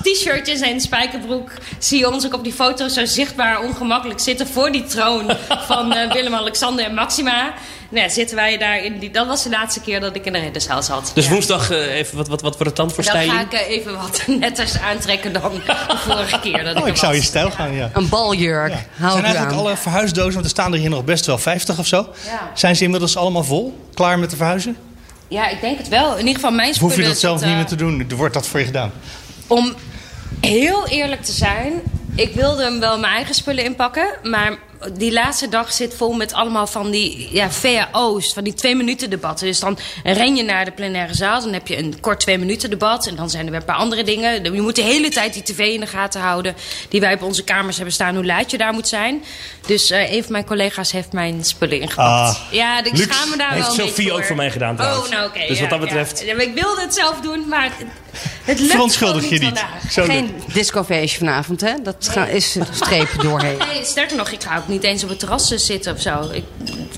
Speaker 6: t-shirtjes en spijkerbroek... zie je ons ook op die foto zo zichtbaar ongemakkelijk zitten... voor die troon van eh, Willem-Alexander en Maxima... Nou, ja, zitten wij daar in die, dat was de laatste keer dat ik in de ridderzaal zat.
Speaker 4: Dus
Speaker 6: Ja.
Speaker 4: woensdag eh, even wat, wat, wat voor het tand voor
Speaker 6: Dan ga
Speaker 3: Nou,
Speaker 4: Stijn.
Speaker 6: ik eh, even wat netters aantrekken dan de vorige keer dat ik
Speaker 2: Oh,
Speaker 6: er
Speaker 2: ik zou in
Speaker 6: was.
Speaker 2: stijl gaan, ja.
Speaker 3: Een baljurk.
Speaker 2: Ja.
Speaker 3: Hou
Speaker 2: zijn
Speaker 3: ik u
Speaker 2: eigenlijk
Speaker 3: aan.
Speaker 2: alle verhuisdozen, want er staan er hier nog best wel 50 of zo.
Speaker 6: Ja.
Speaker 2: Zijn ze inmiddels allemaal vol? Klaar met de verhuizen?
Speaker 6: Ja, ik eh, denk het wel. In ieder geval mijn
Speaker 2: Of
Speaker 6: spullen
Speaker 2: hoef je dat zelf
Speaker 6: zitten-
Speaker 2: niet meer te doen? Er wordt dat voor je gedaan.
Speaker 6: Om heel eerlijk te zijn, ik wilde hem wel mijn eigen spullen inpakken. Maar die laatste dag zit vol met allemaal van die ja, VAO's, van die twee minuten debatten. Dus dan ren je naar de plenaire zaal, dan heb je een kort twee minuten debat. En dan zijn er weer een paar andere dingen. Je moet de hele tijd die tv in de gaten houden. Die wij op onze kamers hebben staan, hoe laat je daar moet zijn. Dus eh, een van mijn collega's heeft mijn spullen ingepakt.
Speaker 2: Ah,
Speaker 6: ja, ik
Speaker 2: luxe.
Speaker 6: schaam me daar
Speaker 4: Heeft
Speaker 6: wel een
Speaker 4: Sophie
Speaker 6: beetje
Speaker 4: ook voor mij gedaan trouwens.
Speaker 6: Oh, nou oké.
Speaker 4: Dus wat
Speaker 6: ja,
Speaker 4: dat betreft-
Speaker 6: ja. Ja, maar ik wilde het zelf doen, maar het, het lukt
Speaker 2: Verontschuldig
Speaker 6: gewoon
Speaker 2: je niet.
Speaker 6: vandaag.
Speaker 2: Zo doen.
Speaker 3: Geen discofeestje vanavond, hè? Dat ga- is een streep doorheen.
Speaker 6: Nee, sterker nog, ik ga ook niet eens op het terras eh, zitten of zo. Ik,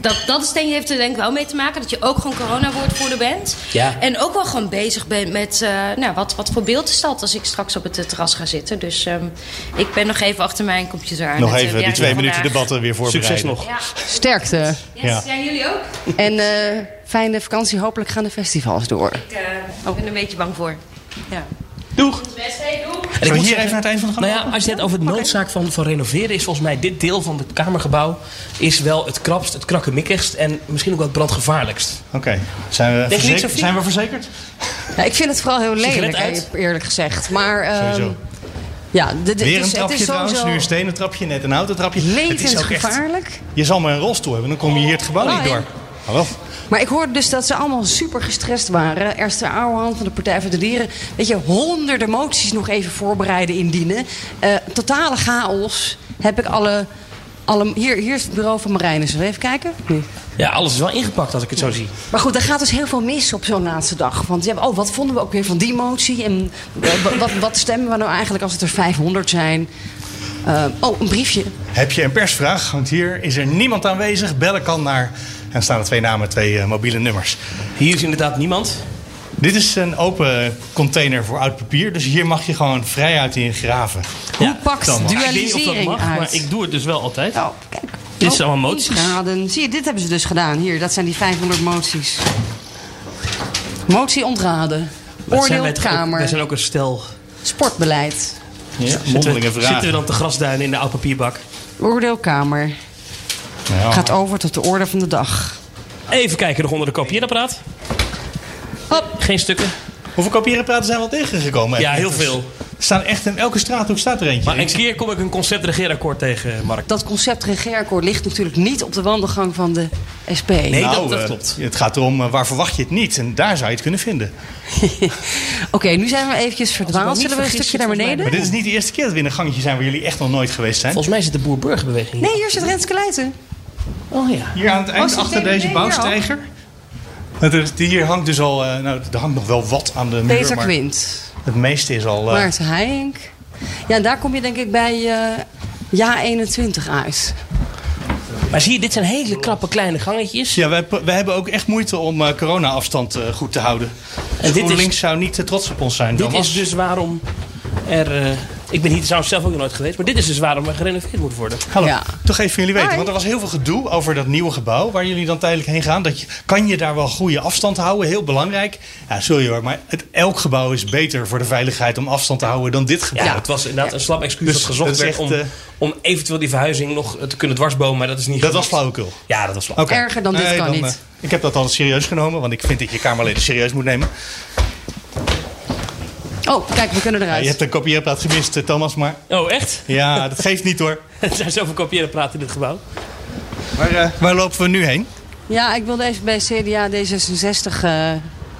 Speaker 6: dat, dat is denk, heeft er denk ik wel mee te maken dat je ook gewoon corona-woordvoerder bent.
Speaker 4: Ja.
Speaker 6: En ook wel gewoon bezig bent met eh, nou, wat, wat voor beeld is dat als ik straks op het eh, terras ga zitten. Dus ehm, ik ben nog even achter mijn computer aan.
Speaker 2: Nog
Speaker 6: het, eh,
Speaker 2: even die
Speaker 6: werken
Speaker 2: twee minuten
Speaker 6: vandaag.
Speaker 2: debatten weer voorbereiden.
Speaker 4: Succes nog.
Speaker 6: Ja,
Speaker 3: Sterkte.
Speaker 6: yes,
Speaker 2: Ja.
Speaker 6: zijn jullie ook?
Speaker 3: En eh, fijne vakantie. Hopelijk gaan de festivals door.
Speaker 6: Ik
Speaker 3: Oh.
Speaker 6: eh, ben er een beetje bang voor. Ja.
Speaker 4: Doeg!
Speaker 6: Het beste, doe.
Speaker 4: En
Speaker 2: Zullen
Speaker 4: ik moet
Speaker 2: we hier
Speaker 4: zeggen-
Speaker 2: even naar het eind van de gang?
Speaker 4: Nou ja, als je het over de noodzaak van, van renoveren is, volgens mij dit deel van het Kamergebouw is wel het krapst, het krakkemikkigst en misschien ook wel het brandgevaarlijkst.
Speaker 2: Oké, zijn, we
Speaker 4: niet,
Speaker 2: verzekerd-
Speaker 4: Sophie?
Speaker 2: zijn we verzekerd?
Speaker 3: Ja, ik vind het vooral heel
Speaker 4: Sigaret
Speaker 3: lelijk,
Speaker 4: uit?
Speaker 3: eerlijk gezegd. Maar ehm,
Speaker 2: Sowieso.
Speaker 3: ja, de- de- het
Speaker 2: Weer
Speaker 3: is-
Speaker 2: een
Speaker 3: het
Speaker 2: trapje
Speaker 3: is
Speaker 2: trouwens,
Speaker 3: sowieso
Speaker 2: nu een stenen trapje, net een houten trapje. Het is ook echt,
Speaker 3: levensgevaarlijk.
Speaker 2: je zal maar een rolstoel hebben, dan kom je hier het gebouw niet
Speaker 3: Oh, ja.
Speaker 2: door. Hallo?
Speaker 3: Maar ik hoorde dus dat ze allemaal super gestrest waren. Esther Ouwehand van de Partij voor de Dieren. Weet je, honderden moties nog even voorbereiden, indienen. Eh totale chaos heb ik alle alle, hier, hier is het bureau van Marijnissen. Even kijken. Nee.
Speaker 4: Ja, alles is wel ingepakt als ik het zo zie.
Speaker 3: Maar goed, er gaat dus heel veel mis op zo'n laatste dag. Want ze hebben, oh, wat vonden we ook weer van die motie? En eh, wa- wat, wat stemmen we nou eigenlijk als het er 500 zijn? Eh, oh, een briefje.
Speaker 2: Heb je een persvraag? Want hier is er niemand aanwezig. Bellen kan naar. En staan er twee namen, twee eh, mobiele nummers.
Speaker 4: Hier is inderdaad niemand.
Speaker 2: Dit is een open container voor oud papier. Dus hier mag je gewoon vrijuit in graven.
Speaker 3: Hoe pakt
Speaker 4: Thomas. Ik weet niet of dat
Speaker 3: dualisering
Speaker 4: mag,
Speaker 3: uit?
Speaker 4: maar ik doe het dus wel altijd.
Speaker 3: Oh, kijk.
Speaker 4: Dit zijn
Speaker 3: Oh,
Speaker 4: allemaal moties.
Speaker 3: ingeraden. Zie je, dit hebben ze dus gedaan. Hier, dat zijn die 500 moties. Motie ontraden.
Speaker 4: Maar zijn
Speaker 3: Oordeel
Speaker 4: wij toch ook-
Speaker 3: Kamer.
Speaker 4: Wij zijn ook een stel.
Speaker 3: Sportbeleid.
Speaker 2: Ja,
Speaker 4: Zitten
Speaker 2: mondelinge
Speaker 4: we-
Speaker 2: vragen.
Speaker 4: Zitten we dan te grasduinen in de oud papierbak?
Speaker 3: Oordeel Kamer.
Speaker 4: Ah.
Speaker 2: Ja.
Speaker 3: Gaat over tot de orde van de dag.
Speaker 4: Even kijken nog onder de kopieerapparaat. Hop. Geen stukken.
Speaker 2: Hoeveel kopierenpraten zijn wel tegengekomen?
Speaker 4: Ja, heel veel.
Speaker 2: Er staan echt in elke straathoek staat er eentje.
Speaker 4: Maar een keer kom ik een concept-regeerakkoord tegen, Mark.
Speaker 3: Dat concept regeerakkoord ligt natuurlijk niet op de wandelgang van de SP.
Speaker 4: Nee,
Speaker 2: Nou,
Speaker 4: dat, dat
Speaker 2: eh,
Speaker 4: klopt.
Speaker 2: Het gaat erom eh, waar verwacht je het niet. En daar zou je het kunnen vinden.
Speaker 3: Oké, nu zijn we eventjes verdwaald.
Speaker 4: niet
Speaker 3: Zullen we een
Speaker 4: vergis,
Speaker 3: stukje naar
Speaker 4: zit volgens mij
Speaker 3: beneden?
Speaker 2: Maar dit is niet de eerste keer dat we in een gangetje zijn waar jullie echt nog nooit geweest zijn.
Speaker 4: Volgens mij zit de boer-burgerbeweging hier.
Speaker 3: Nee, hier zit Renske Leijten.
Speaker 4: Oh ja.
Speaker 2: Hier aan het
Speaker 3: Was
Speaker 2: eind
Speaker 3: het
Speaker 2: achter
Speaker 3: DVD
Speaker 2: deze bouwstijger. Het is- die hier hangt dus al, eh, nou, er hangt nog wel wat aan de muur.
Speaker 3: Peter
Speaker 2: maar
Speaker 3: Quint.
Speaker 2: Het meeste is al. eh,
Speaker 3: Maarten Heijink. Ja, en daar kom je denk ik bij eh, Ja 21 uit.
Speaker 4: Maar zie je, dit zijn hele krappe kleine gangetjes.
Speaker 2: ja, wij, pro- wij hebben ook echt moeite om eh, corona-afstand eh, goed te houden. En
Speaker 4: dit is-
Speaker 2: GroenLinks zou niet te trots op ons zijn.
Speaker 4: Dit
Speaker 2: Thomas.
Speaker 4: is dus waarom er... eh, ik ben hier trouwens zelf ook nog nooit geweest. Maar dit is dus waarom er gerenoveerd moet worden.
Speaker 2: Hallo,
Speaker 3: Ja.
Speaker 2: toch even jullie weten.
Speaker 3: Hoi.
Speaker 2: Want er was heel veel gedoe over dat nieuwe gebouw waar jullie dan tijdelijk heen gaan. Dat je, kan je daar wel goede afstand houden? Heel belangrijk. Ja, sorry hoor, maar het, elk gebouw is beter voor de veiligheid om afstand te houden dan dit
Speaker 4: Ja,
Speaker 2: gebouw.
Speaker 4: het was inderdaad een slap excuus
Speaker 2: Dus
Speaker 4: dat gezocht
Speaker 2: dat is
Speaker 4: werd
Speaker 2: echt,
Speaker 4: om,
Speaker 2: eh,
Speaker 4: om eventueel die verhuizing nog eh, te kunnen dwarsbomen. Maar dat is niet
Speaker 2: Dat was
Speaker 4: gelukt.
Speaker 2: flauwekul.
Speaker 4: Ja, dat was flauw.
Speaker 2: Oké.
Speaker 3: Erger dan dit kan niet.
Speaker 2: eh, ik heb dat altijd serieus genomen, want ik vind dat je Kamerleden serieus moet nemen.
Speaker 3: Oh, kijk, we kunnen
Speaker 2: Ja,
Speaker 3: eruit.
Speaker 2: je hebt een kopieerapparaat gemist, eh, Thomas, maar
Speaker 4: Oh, echt?
Speaker 2: ja, dat geeft niet hoor.
Speaker 4: Er zijn zoveel kopiëren praten in dit gebouw.
Speaker 2: Maar eh, waar lopen we nu heen?
Speaker 3: Ja, ik wilde even bij CDA D66 eh,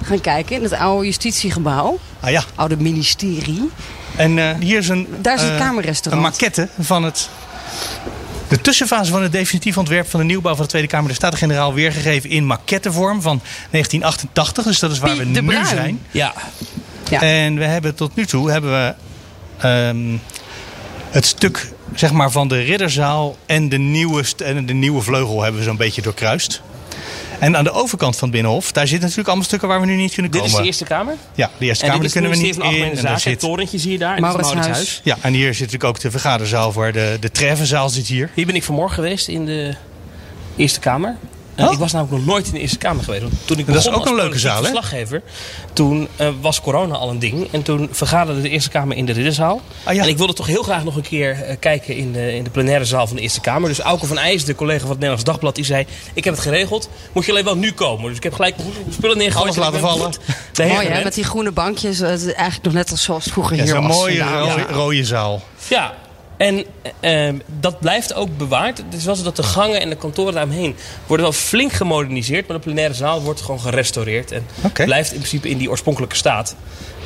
Speaker 3: gaan kijken. In het oude justitiegebouw.
Speaker 2: Ah ja,
Speaker 3: Oude ministerie.
Speaker 2: en eh, hier is een,
Speaker 3: Daar is een
Speaker 2: eh, een
Speaker 3: kamerrestaurant.
Speaker 2: maquette van het... De tussenfase van het definitief ontwerp van de nieuwbouw van de Tweede Kamer de Staten-Generaal weergegeven in maquettevorm van 1988. Dus dat is waar
Speaker 3: Piet
Speaker 2: we
Speaker 3: de
Speaker 2: nu
Speaker 3: Bruin.
Speaker 2: zijn.
Speaker 4: Ja.
Speaker 3: Ja.
Speaker 2: En we hebben tot nu toe hebben we ehm, het stuk zeg maar, van de ridderzaal en de, nieuwe, st- en de nieuwe vleugel hebben we zo'n beetje doorkruist. En aan de overkant van het Binnenhof, daar zitten natuurlijk allemaal stukken waar we nu niet kunnen
Speaker 4: Dit
Speaker 2: komen.
Speaker 4: is de Eerste Kamer.
Speaker 2: Ja, de Eerste
Speaker 4: en
Speaker 2: Kamer
Speaker 4: dit
Speaker 2: daar
Speaker 4: is
Speaker 2: kunnen
Speaker 4: het
Speaker 2: we
Speaker 4: ministerie
Speaker 2: niet
Speaker 4: van
Speaker 2: in.
Speaker 4: Algemene
Speaker 2: En daar
Speaker 4: Zaken. Het
Speaker 2: zit,
Speaker 4: torentje zie je daar. En dit is
Speaker 3: Mauritshuis.
Speaker 4: Mauritshuis.
Speaker 2: ja, en hier zit natuurlijk ook de vergaderzaal voor. De, de treffenzaal zit hier.
Speaker 4: Hier ben ik vanmorgen geweest in de Eerste Kamer. En
Speaker 2: Oh.
Speaker 4: Ik was namelijk nog nooit in de Eerste Kamer geweest. Want toen ik
Speaker 2: Dat is
Speaker 4: begon
Speaker 2: ook
Speaker 4: als
Speaker 2: een leuke
Speaker 4: politiek
Speaker 2: zaal, hè?
Speaker 4: verslaggever, toen eh, was corona al een ding. En toen vergaderde de Eerste Kamer in de Ridderzaal.
Speaker 2: Ah, ja.
Speaker 4: En ik wilde toch heel graag nog een keer eh, kijken in de, in de plenaire zaal van de Eerste Kamer. Dus Auke van IJs, de collega van het Nederlands Dagblad, die zei... Ik heb het geregeld, moet je alleen wel nu komen. Dus ik heb gelijk mijn spullen neergegooid.
Speaker 2: Alles
Speaker 4: en ik
Speaker 2: laten
Speaker 4: ben
Speaker 2: vallen.
Speaker 4: goed daarheen
Speaker 3: Mooi hè,
Speaker 4: gerend.
Speaker 3: met die groene bankjes. eh, Het is eigenlijk nog net als zoals het vroeger
Speaker 2: Ja,
Speaker 3: hier
Speaker 2: zo'n
Speaker 3: was.
Speaker 2: mooie
Speaker 3: Ja,
Speaker 2: rode,
Speaker 3: ja.
Speaker 2: rode zaal.
Speaker 4: Ja, en eh, eh, dat blijft ook bewaard. Het is wel zo dat de gangen en de kantoren daaromheen worden wel flink gemoderniseerd. Maar de plenaire zaal wordt gewoon gerestaureerd. En
Speaker 2: Oké.
Speaker 4: blijft in principe in die oorspronkelijke staat.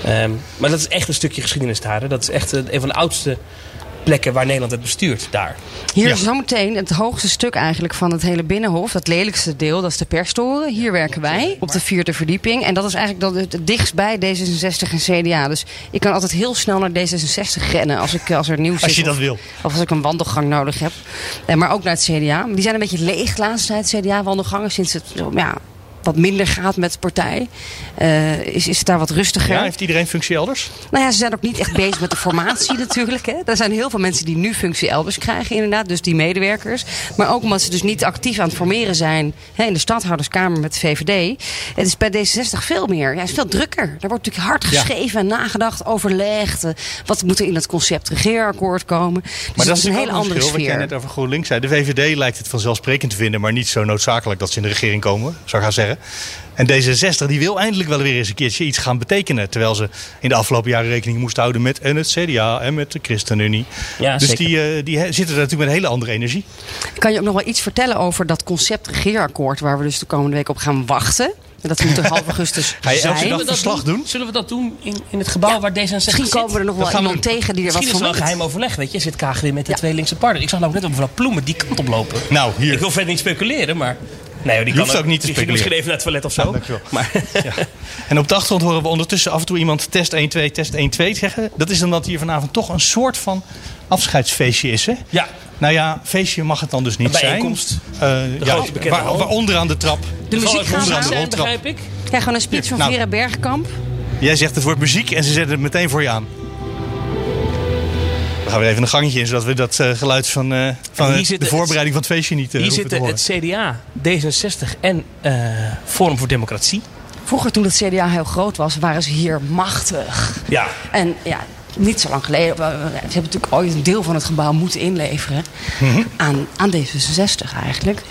Speaker 4: Ehm, maar dat is echt een stukje geschiedenis daar. hè. Dat is echt eh, een van de oudste plekken waar Nederland het bestuurt daar.
Speaker 3: Hier
Speaker 2: Ja.
Speaker 3: is zometeen het hoogste stuk eigenlijk van het hele binnenhof. Dat lelijkste deel, dat is de perstoren. Hier werken wij op de vierde verdieping. En dat is eigenlijk dan het het dichtst bij D66 en CDA. Dus ik kan altijd heel snel naar D66 rennen als, ik, eh, als er nieuws
Speaker 2: Als
Speaker 3: is.
Speaker 2: je dat
Speaker 3: of-
Speaker 2: wil.
Speaker 3: Of als ik een wandelgang nodig heb. Eh, maar ook naar het CDA. Die zijn een beetje leeg de laatste tijd, CDA-wandelgangen. Sinds het zo, ja, wat minder gaat met de partij. Eh, is, is het daar wat rustiger.
Speaker 2: Ja, heeft iedereen functie elders?
Speaker 3: Nou ja, ze zijn ook niet echt bezig met de formatie natuurlijk. Hè. Er zijn heel veel mensen die nu functie elders krijgen inderdaad. Dus die medewerkers. Maar ook omdat ze dus niet actief aan het formeren zijn... Hè, in de stadhouderskamer met de VVD. Het is bij D66 veel meer. Ja, het is veel drukker. Daar wordt natuurlijk hard geschreven en nagedacht, overlegd. eh, Wat moet er in het concept regeerakkoord komen. Dus
Speaker 2: Maar
Speaker 3: het
Speaker 2: dat
Speaker 3: is
Speaker 2: is
Speaker 3: een
Speaker 2: natuurlijk
Speaker 3: hele
Speaker 2: ook een
Speaker 3: andere
Speaker 2: verschil. Wat jij
Speaker 3: sfeer.
Speaker 2: net over GroenLinks zei. De VVD lijkt het vanzelfsprekend te vinden, maar niet zo noodzakelijk dat ze in de regering komen, zou ik gaan zeggen. En D66 die wil eindelijk wel weer eens een keertje iets gaan betekenen. Terwijl ze in de afgelopen jaren rekening moest houden met en het CDA en met de ChristenUnie.
Speaker 4: Ja,
Speaker 2: dus
Speaker 4: zeker.
Speaker 2: die, eh, die he- zitten daar natuurlijk met een hele andere energie.
Speaker 3: Ik kan je ook nog wel iets vertellen over dat concept regeerakkoord... waar we dus de komende week op gaan wachten. Dat moet er half augustus
Speaker 2: Ga je elke
Speaker 3: zijn.
Speaker 2: dag-
Speaker 4: Zullen we dat
Speaker 2: verslag doen?
Speaker 4: Zullen we dat doen in, in het gebouw waar D66
Speaker 3: Misschien
Speaker 4: zit?
Speaker 3: komen we er nog
Speaker 2: Dat
Speaker 3: wel
Speaker 2: gaan we
Speaker 3: iemand
Speaker 2: doen.
Speaker 3: tegen die er wat
Speaker 4: Misschien is
Speaker 3: van
Speaker 4: het wel een
Speaker 3: weet.
Speaker 4: geheim overleg, weet je. Zit Kaag weer met de twee linkse partners. Ik zag nou net op mevrouw Ploemen die kant oplopen.
Speaker 2: Nou, hier.
Speaker 4: Ik wil verder niet speculeren, maar... Nee, joh, die
Speaker 2: Je hoeft
Speaker 4: kan
Speaker 2: ook niet te
Speaker 4: die ging
Speaker 2: speculeren.
Speaker 4: Misschien even naar het toilet of zo.
Speaker 2: Ja, dankjewel.
Speaker 4: maar
Speaker 2: En op de achtergrond horen we ondertussen af en toe iemand test 1-2, test 1-2 zeggen. Dat is omdat hier vanavond toch een soort van afscheidsfeestje is, hè?
Speaker 4: ja,
Speaker 2: Nou ja, feestje mag het dan dus niet
Speaker 4: Een
Speaker 2: zijn.
Speaker 4: bijeenkomst.
Speaker 2: Eh, ja,
Speaker 4: grote bekende
Speaker 2: waar,
Speaker 4: hal.
Speaker 2: waaronder aan de trap.
Speaker 3: De muziek
Speaker 4: zal
Speaker 3: gaat
Speaker 4: het
Speaker 2: aan.
Speaker 4: zijn,
Speaker 2: Roltrap.
Speaker 4: begrijp ik.
Speaker 3: Krijg gewoon een speech van
Speaker 2: Nou.
Speaker 3: Vera Bergkamp.
Speaker 2: Jij zegt het wordt muziek en ze zetten het meteen voor je aan. We gaan weer even een gangetje in, zodat we dat eh, geluid van, eh, van
Speaker 4: hier
Speaker 2: het-
Speaker 4: zit
Speaker 2: de
Speaker 4: het-
Speaker 2: voorbereiding van het feestje niet eh,
Speaker 4: Hier
Speaker 2: hoeven te
Speaker 4: zitten
Speaker 2: horen.
Speaker 4: het CDA, D66 en eh, Forum voor Democratie.
Speaker 3: Vroeger toen het CDA heel groot was, waren ze hier machtig.
Speaker 4: Ja.
Speaker 3: En ja, niet zo lang geleden. we- we- Ze hebben natuurlijk ooit een deel van het gebouw moeten inleveren.
Speaker 2: Mhm.
Speaker 3: aan, aan D66 eigenlijk.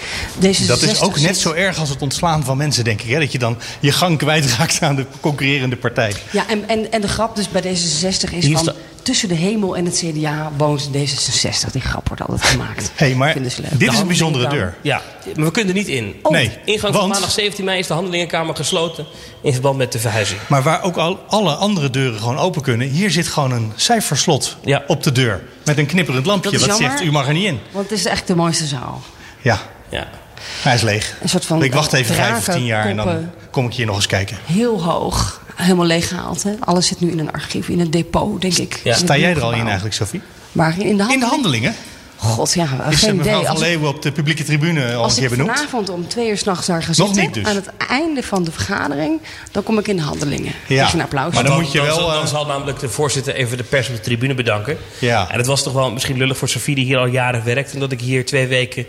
Speaker 3: D66
Speaker 2: Dat is ook net
Speaker 3: zit-
Speaker 2: zo erg als het ontslaan van mensen, denk ik. Hè? Dat je dan je gang kwijtraakt aan de concurrerende partij.
Speaker 3: Ja, en, en, en de grap dus bij D66 is
Speaker 4: Hier
Speaker 3: van...
Speaker 4: sta-
Speaker 3: tussen de hemel en het CDA woont D66. Die grap wordt altijd gemaakt.
Speaker 2: Hey, maar
Speaker 3: Vinden ze leuk.
Speaker 2: dit is
Speaker 3: Dan-
Speaker 2: een bijzondere
Speaker 3: dan-
Speaker 2: deur.
Speaker 4: Ja, maar we kunnen er niet in.
Speaker 2: nee,
Speaker 4: Ingang van
Speaker 2: want,
Speaker 4: maandag 17 mei is de handelingenkamer gesloten in verband met de verhuizing.
Speaker 2: maar waar ook al alle andere deuren gewoon open kunnen... hier zit gewoon een cijferslot
Speaker 4: Ja.
Speaker 2: op de deur. Met een knipperend lampje
Speaker 3: Dat is
Speaker 2: wat
Speaker 3: jammer.
Speaker 2: zegt, u mag er niet in.
Speaker 3: Want het is echt de mooiste zaal.
Speaker 2: Ja,
Speaker 4: Ja.
Speaker 2: hij is leeg.
Speaker 3: Een soort van,
Speaker 2: ik wacht
Speaker 3: eh,
Speaker 2: even vijf of
Speaker 3: draken,
Speaker 2: tien jaar en dan
Speaker 3: koppen.
Speaker 2: kom ik hier nog eens kijken.
Speaker 3: Heel hoog. Helemaal leeggehaald. Hè? Alles zit nu in een archief, in een depot, denk ik.
Speaker 4: Ja.
Speaker 3: In het
Speaker 2: Sta jij er al
Speaker 3: nieuwgebouw.
Speaker 2: in eigenlijk, Sophie?
Speaker 3: Maar in de
Speaker 2: In de
Speaker 3: handeling?
Speaker 2: handelingen?
Speaker 3: God, ja,
Speaker 2: Is eh,
Speaker 3: geen
Speaker 2: mevrouw
Speaker 3: idee.
Speaker 2: van
Speaker 3: Als,
Speaker 2: Leeuwen op de publieke tribune al een
Speaker 3: als
Speaker 2: keer
Speaker 3: ik
Speaker 2: benoemd?
Speaker 3: vanavond om twee uur s'nachts daar ga zitten...
Speaker 2: niet dus.
Speaker 3: aan het einde van de vergadering, dan kom ik in de handelingen.
Speaker 2: Ja.
Speaker 3: Dus een applaus.
Speaker 2: Maar dan moet je wel,
Speaker 4: zal, dan
Speaker 2: eh,
Speaker 4: zal namelijk de voorzitter even de pers op de tribune bedanken.
Speaker 2: Ja.
Speaker 4: En dat was toch wel misschien lullig voor Sofie die hier al jaren werkt. Omdat ik hier twee weken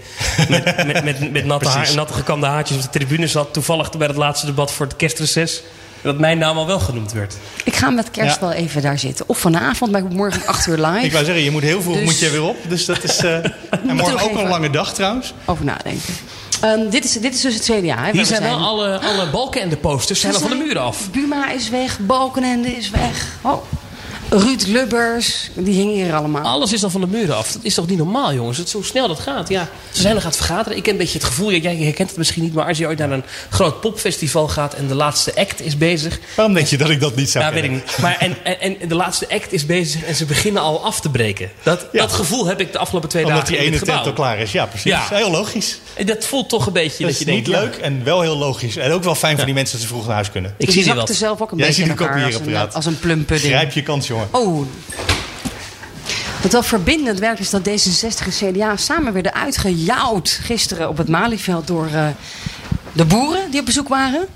Speaker 4: met, met, met, met natte, haar,
Speaker 2: Precies.
Speaker 4: natte gekamde haartjes op de tribune zat. Toevallig bij het laatste debat voor het kerstreces. Dat mijn naam al wel genoemd werd.
Speaker 3: Ik ga met kerst
Speaker 2: Ja.
Speaker 3: wel even daar zitten. Of vanavond, maar ik moet morgen om acht uur live.
Speaker 2: Ik wou zeggen, je moet heel veel
Speaker 3: Dus-
Speaker 2: moet je weer op. Dus dat is. eh, en
Speaker 3: Moet
Speaker 2: morgen
Speaker 3: toch
Speaker 2: ook een
Speaker 3: even-
Speaker 2: lange dag trouwens.
Speaker 3: Over nadenken. Ehm, dit, is, dit is dus het CDA. Hè, waar we
Speaker 4: Hier zijn wel alle, alle balken en de posters zijn al van de muren af.
Speaker 3: Buma is weg, Balkenende is weg. Oh. Ruud Lubbers, die hingen hier allemaal.
Speaker 4: Alles is dan van de muren af. Dat is toch niet normaal, jongens? Dat, zo snel dat gaat. Ja, ze zijn nog aan het vergaderen. Ik heb een beetje het gevoel, ja, jij herkent het misschien niet, maar als je ooit naar een groot popfestival gaat en de laatste act is bezig.
Speaker 2: Waarom denk je dat ik dat niet zou
Speaker 4: Ja, Nou, weet ik
Speaker 2: kennen?
Speaker 4: niet. Maar en, en, en de laatste act is bezig en ze beginnen al af te breken. Dat,
Speaker 2: Ja.
Speaker 4: dat gevoel heb ik de afgelopen twee
Speaker 2: Omdat
Speaker 4: dagen
Speaker 2: die
Speaker 4: in
Speaker 2: ene
Speaker 4: het
Speaker 2: tent al
Speaker 4: gebouw.
Speaker 2: klaar is. Ja, precies.
Speaker 4: Ja.
Speaker 2: Heel logisch.
Speaker 4: En dat voelt toch een beetje
Speaker 2: Dat
Speaker 4: dat
Speaker 2: is
Speaker 4: je
Speaker 2: niet
Speaker 4: denkt... ja,
Speaker 2: leuk en wel heel logisch. En ook wel fijn voor die mensen dat ze vroeg naar huis kunnen.
Speaker 4: Ik
Speaker 3: Dus
Speaker 4: zie
Speaker 3: die
Speaker 4: die
Speaker 3: zakte
Speaker 4: wat.
Speaker 3: zelf ook een
Speaker 2: Jij
Speaker 3: beetje
Speaker 2: ziet
Speaker 3: in
Speaker 2: hem ook
Speaker 3: elkaar
Speaker 2: hier
Speaker 3: als een,
Speaker 2: apparaat.
Speaker 3: als een plumpudding.
Speaker 2: Grijp je kans, jongen.
Speaker 3: Oh. Wat wel verbindend werkt is dat D66 en CDA samen werden uitgejouwd gisteren op het Malieveld door eh, de boeren die op bezoek waren.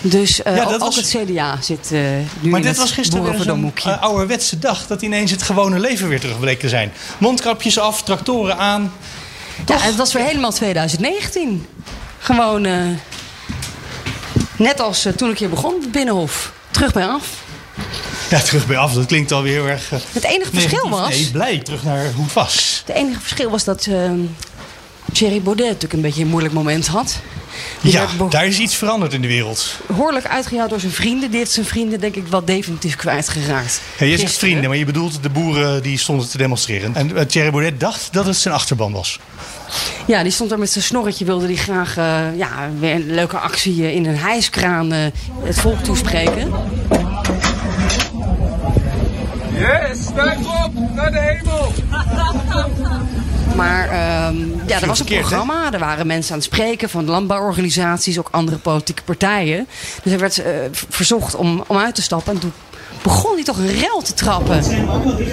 Speaker 3: Dus eh,
Speaker 2: Ja,
Speaker 3: ook,
Speaker 2: dat was-
Speaker 3: ook het CDA zit eh, nu
Speaker 2: Maar
Speaker 3: in
Speaker 2: dit
Speaker 3: het
Speaker 2: was gisteren weer zo'n
Speaker 3: boerenverdomhoekje.
Speaker 2: eh, ouderwetse dag. Dat ineens het gewone leven weer terug bleek te zijn. Mondkapjes af, tractoren aan. Ah,
Speaker 3: Ja, het was weer helemaal 2019. Gewoon eh, net als eh, toen ik hier begon, het Binnenhof. Terug bij af.
Speaker 2: Ja, terug bij af. Dat klinkt alweer heel erg... eh,
Speaker 3: Het enige verschil
Speaker 2: negatief.
Speaker 3: was...
Speaker 2: Nee, blij. Terug naar hoe het was.
Speaker 3: Het enige verschil was dat eh, Thierry Baudet natuurlijk een beetje een moeilijk moment had. Die
Speaker 2: Ja,
Speaker 3: werd beho-
Speaker 2: daar is iets veranderd in de wereld.
Speaker 3: behoorlijk uitgehaald door zijn vrienden. Dit zijn vrienden denk ik wel definitief kwijtgeraakt.
Speaker 2: Ja, je zegt
Speaker 3: Gisteren.
Speaker 2: vrienden, maar je bedoelt de boeren die stonden te demonstreren. En eh, Thierry Baudet dacht dat het zijn achterban was.
Speaker 3: Ja, die stond daar met zijn snorretje. Wilde die graag eh, ja, weer een leuke actie eh, in een hijskraan eh, het volk toespreken.
Speaker 8: Yes, kijk op naar de hemel.
Speaker 3: Maar ehm, ja, er was een
Speaker 2: verkeerd,
Speaker 3: programma. Er waren mensen aan het spreken van landbouworganisaties, ook andere politieke partijen. Dus er werd eh, v- verzocht om, om uit te stappen. En toen begon hij toch een rel te trappen.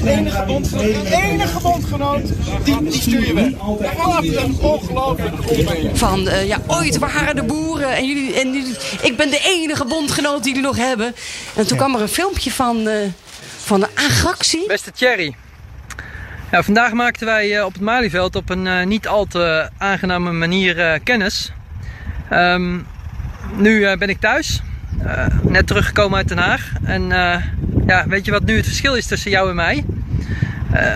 Speaker 8: Enige, bond, enige bondgenoot, die, die stuur je weg. Wat ongelooflijk.
Speaker 3: Van eh, ja, ooit waren de boeren en jullie, en jullie. Ik ben de enige bondgenoot die jullie nog hebben. En toen kwam er een filmpje van. eh van de agractie.
Speaker 9: Beste Thierry. Nou, vandaag maakten wij eh, op het Malieveld op een eh, niet al te aangename manier eh, kennis. Ehm, nu eh, ben ik thuis, eh, net teruggekomen uit Den Haag. En eh, ja, weet je wat nu het verschil is tussen jou en mij? Eh,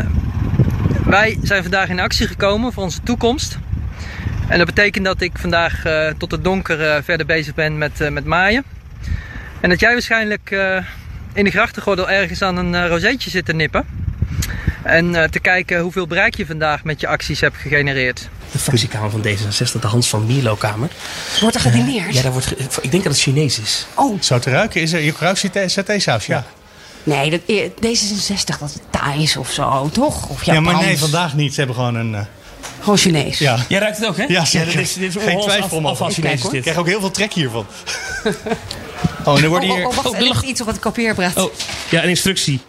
Speaker 9: wij zijn vandaag in actie gekomen voor onze toekomst. En dat betekent dat ik vandaag eh, tot het donker eh, verder bezig ben met, eh, met maaien. En dat jij waarschijnlijk eh, in de grachtengordel ergens aan een eh, rozeetje zit te nippen. En eh, te kijken hoeveel bereik je vandaag met je acties hebt gegenereerd.
Speaker 4: De fractiekamer van D66, de Hans van Mierlo-kamer.
Speaker 3: Wordt er gedineerd?
Speaker 4: ja, daar wordt ge- ik denk dat het Chinees is.
Speaker 3: Oh.
Speaker 2: Zo te ruiken is er. Je ruikt saté-saus, ja.
Speaker 3: Nee, dat, eh, D66 dat het Thais of zo, toch? Of
Speaker 2: Ja, maar
Speaker 3: Japans.
Speaker 2: nee, vandaag niet. Ze hebben gewoon een... eh,
Speaker 3: Gewoon Chinees.
Speaker 2: ja.
Speaker 4: Jij ruikt het ook, hè?
Speaker 2: Ja, zeker.
Speaker 4: dit is, dit is
Speaker 2: Geen
Speaker 4: ongelooflijk
Speaker 2: twijfel
Speaker 4: af-
Speaker 2: mogelijk.
Speaker 4: afval Chinees is
Speaker 2: Ik
Speaker 4: dit.
Speaker 2: krijg ook heel veel trek hiervan. Oh, en er worden
Speaker 3: Oh,
Speaker 2: hier...
Speaker 3: oh, oh, wacht,
Speaker 4: Oh,
Speaker 3: er
Speaker 4: er
Speaker 3: ligt
Speaker 4: lag-
Speaker 3: iets op het kopieerapparaat.
Speaker 4: Oh, ja, een instructie.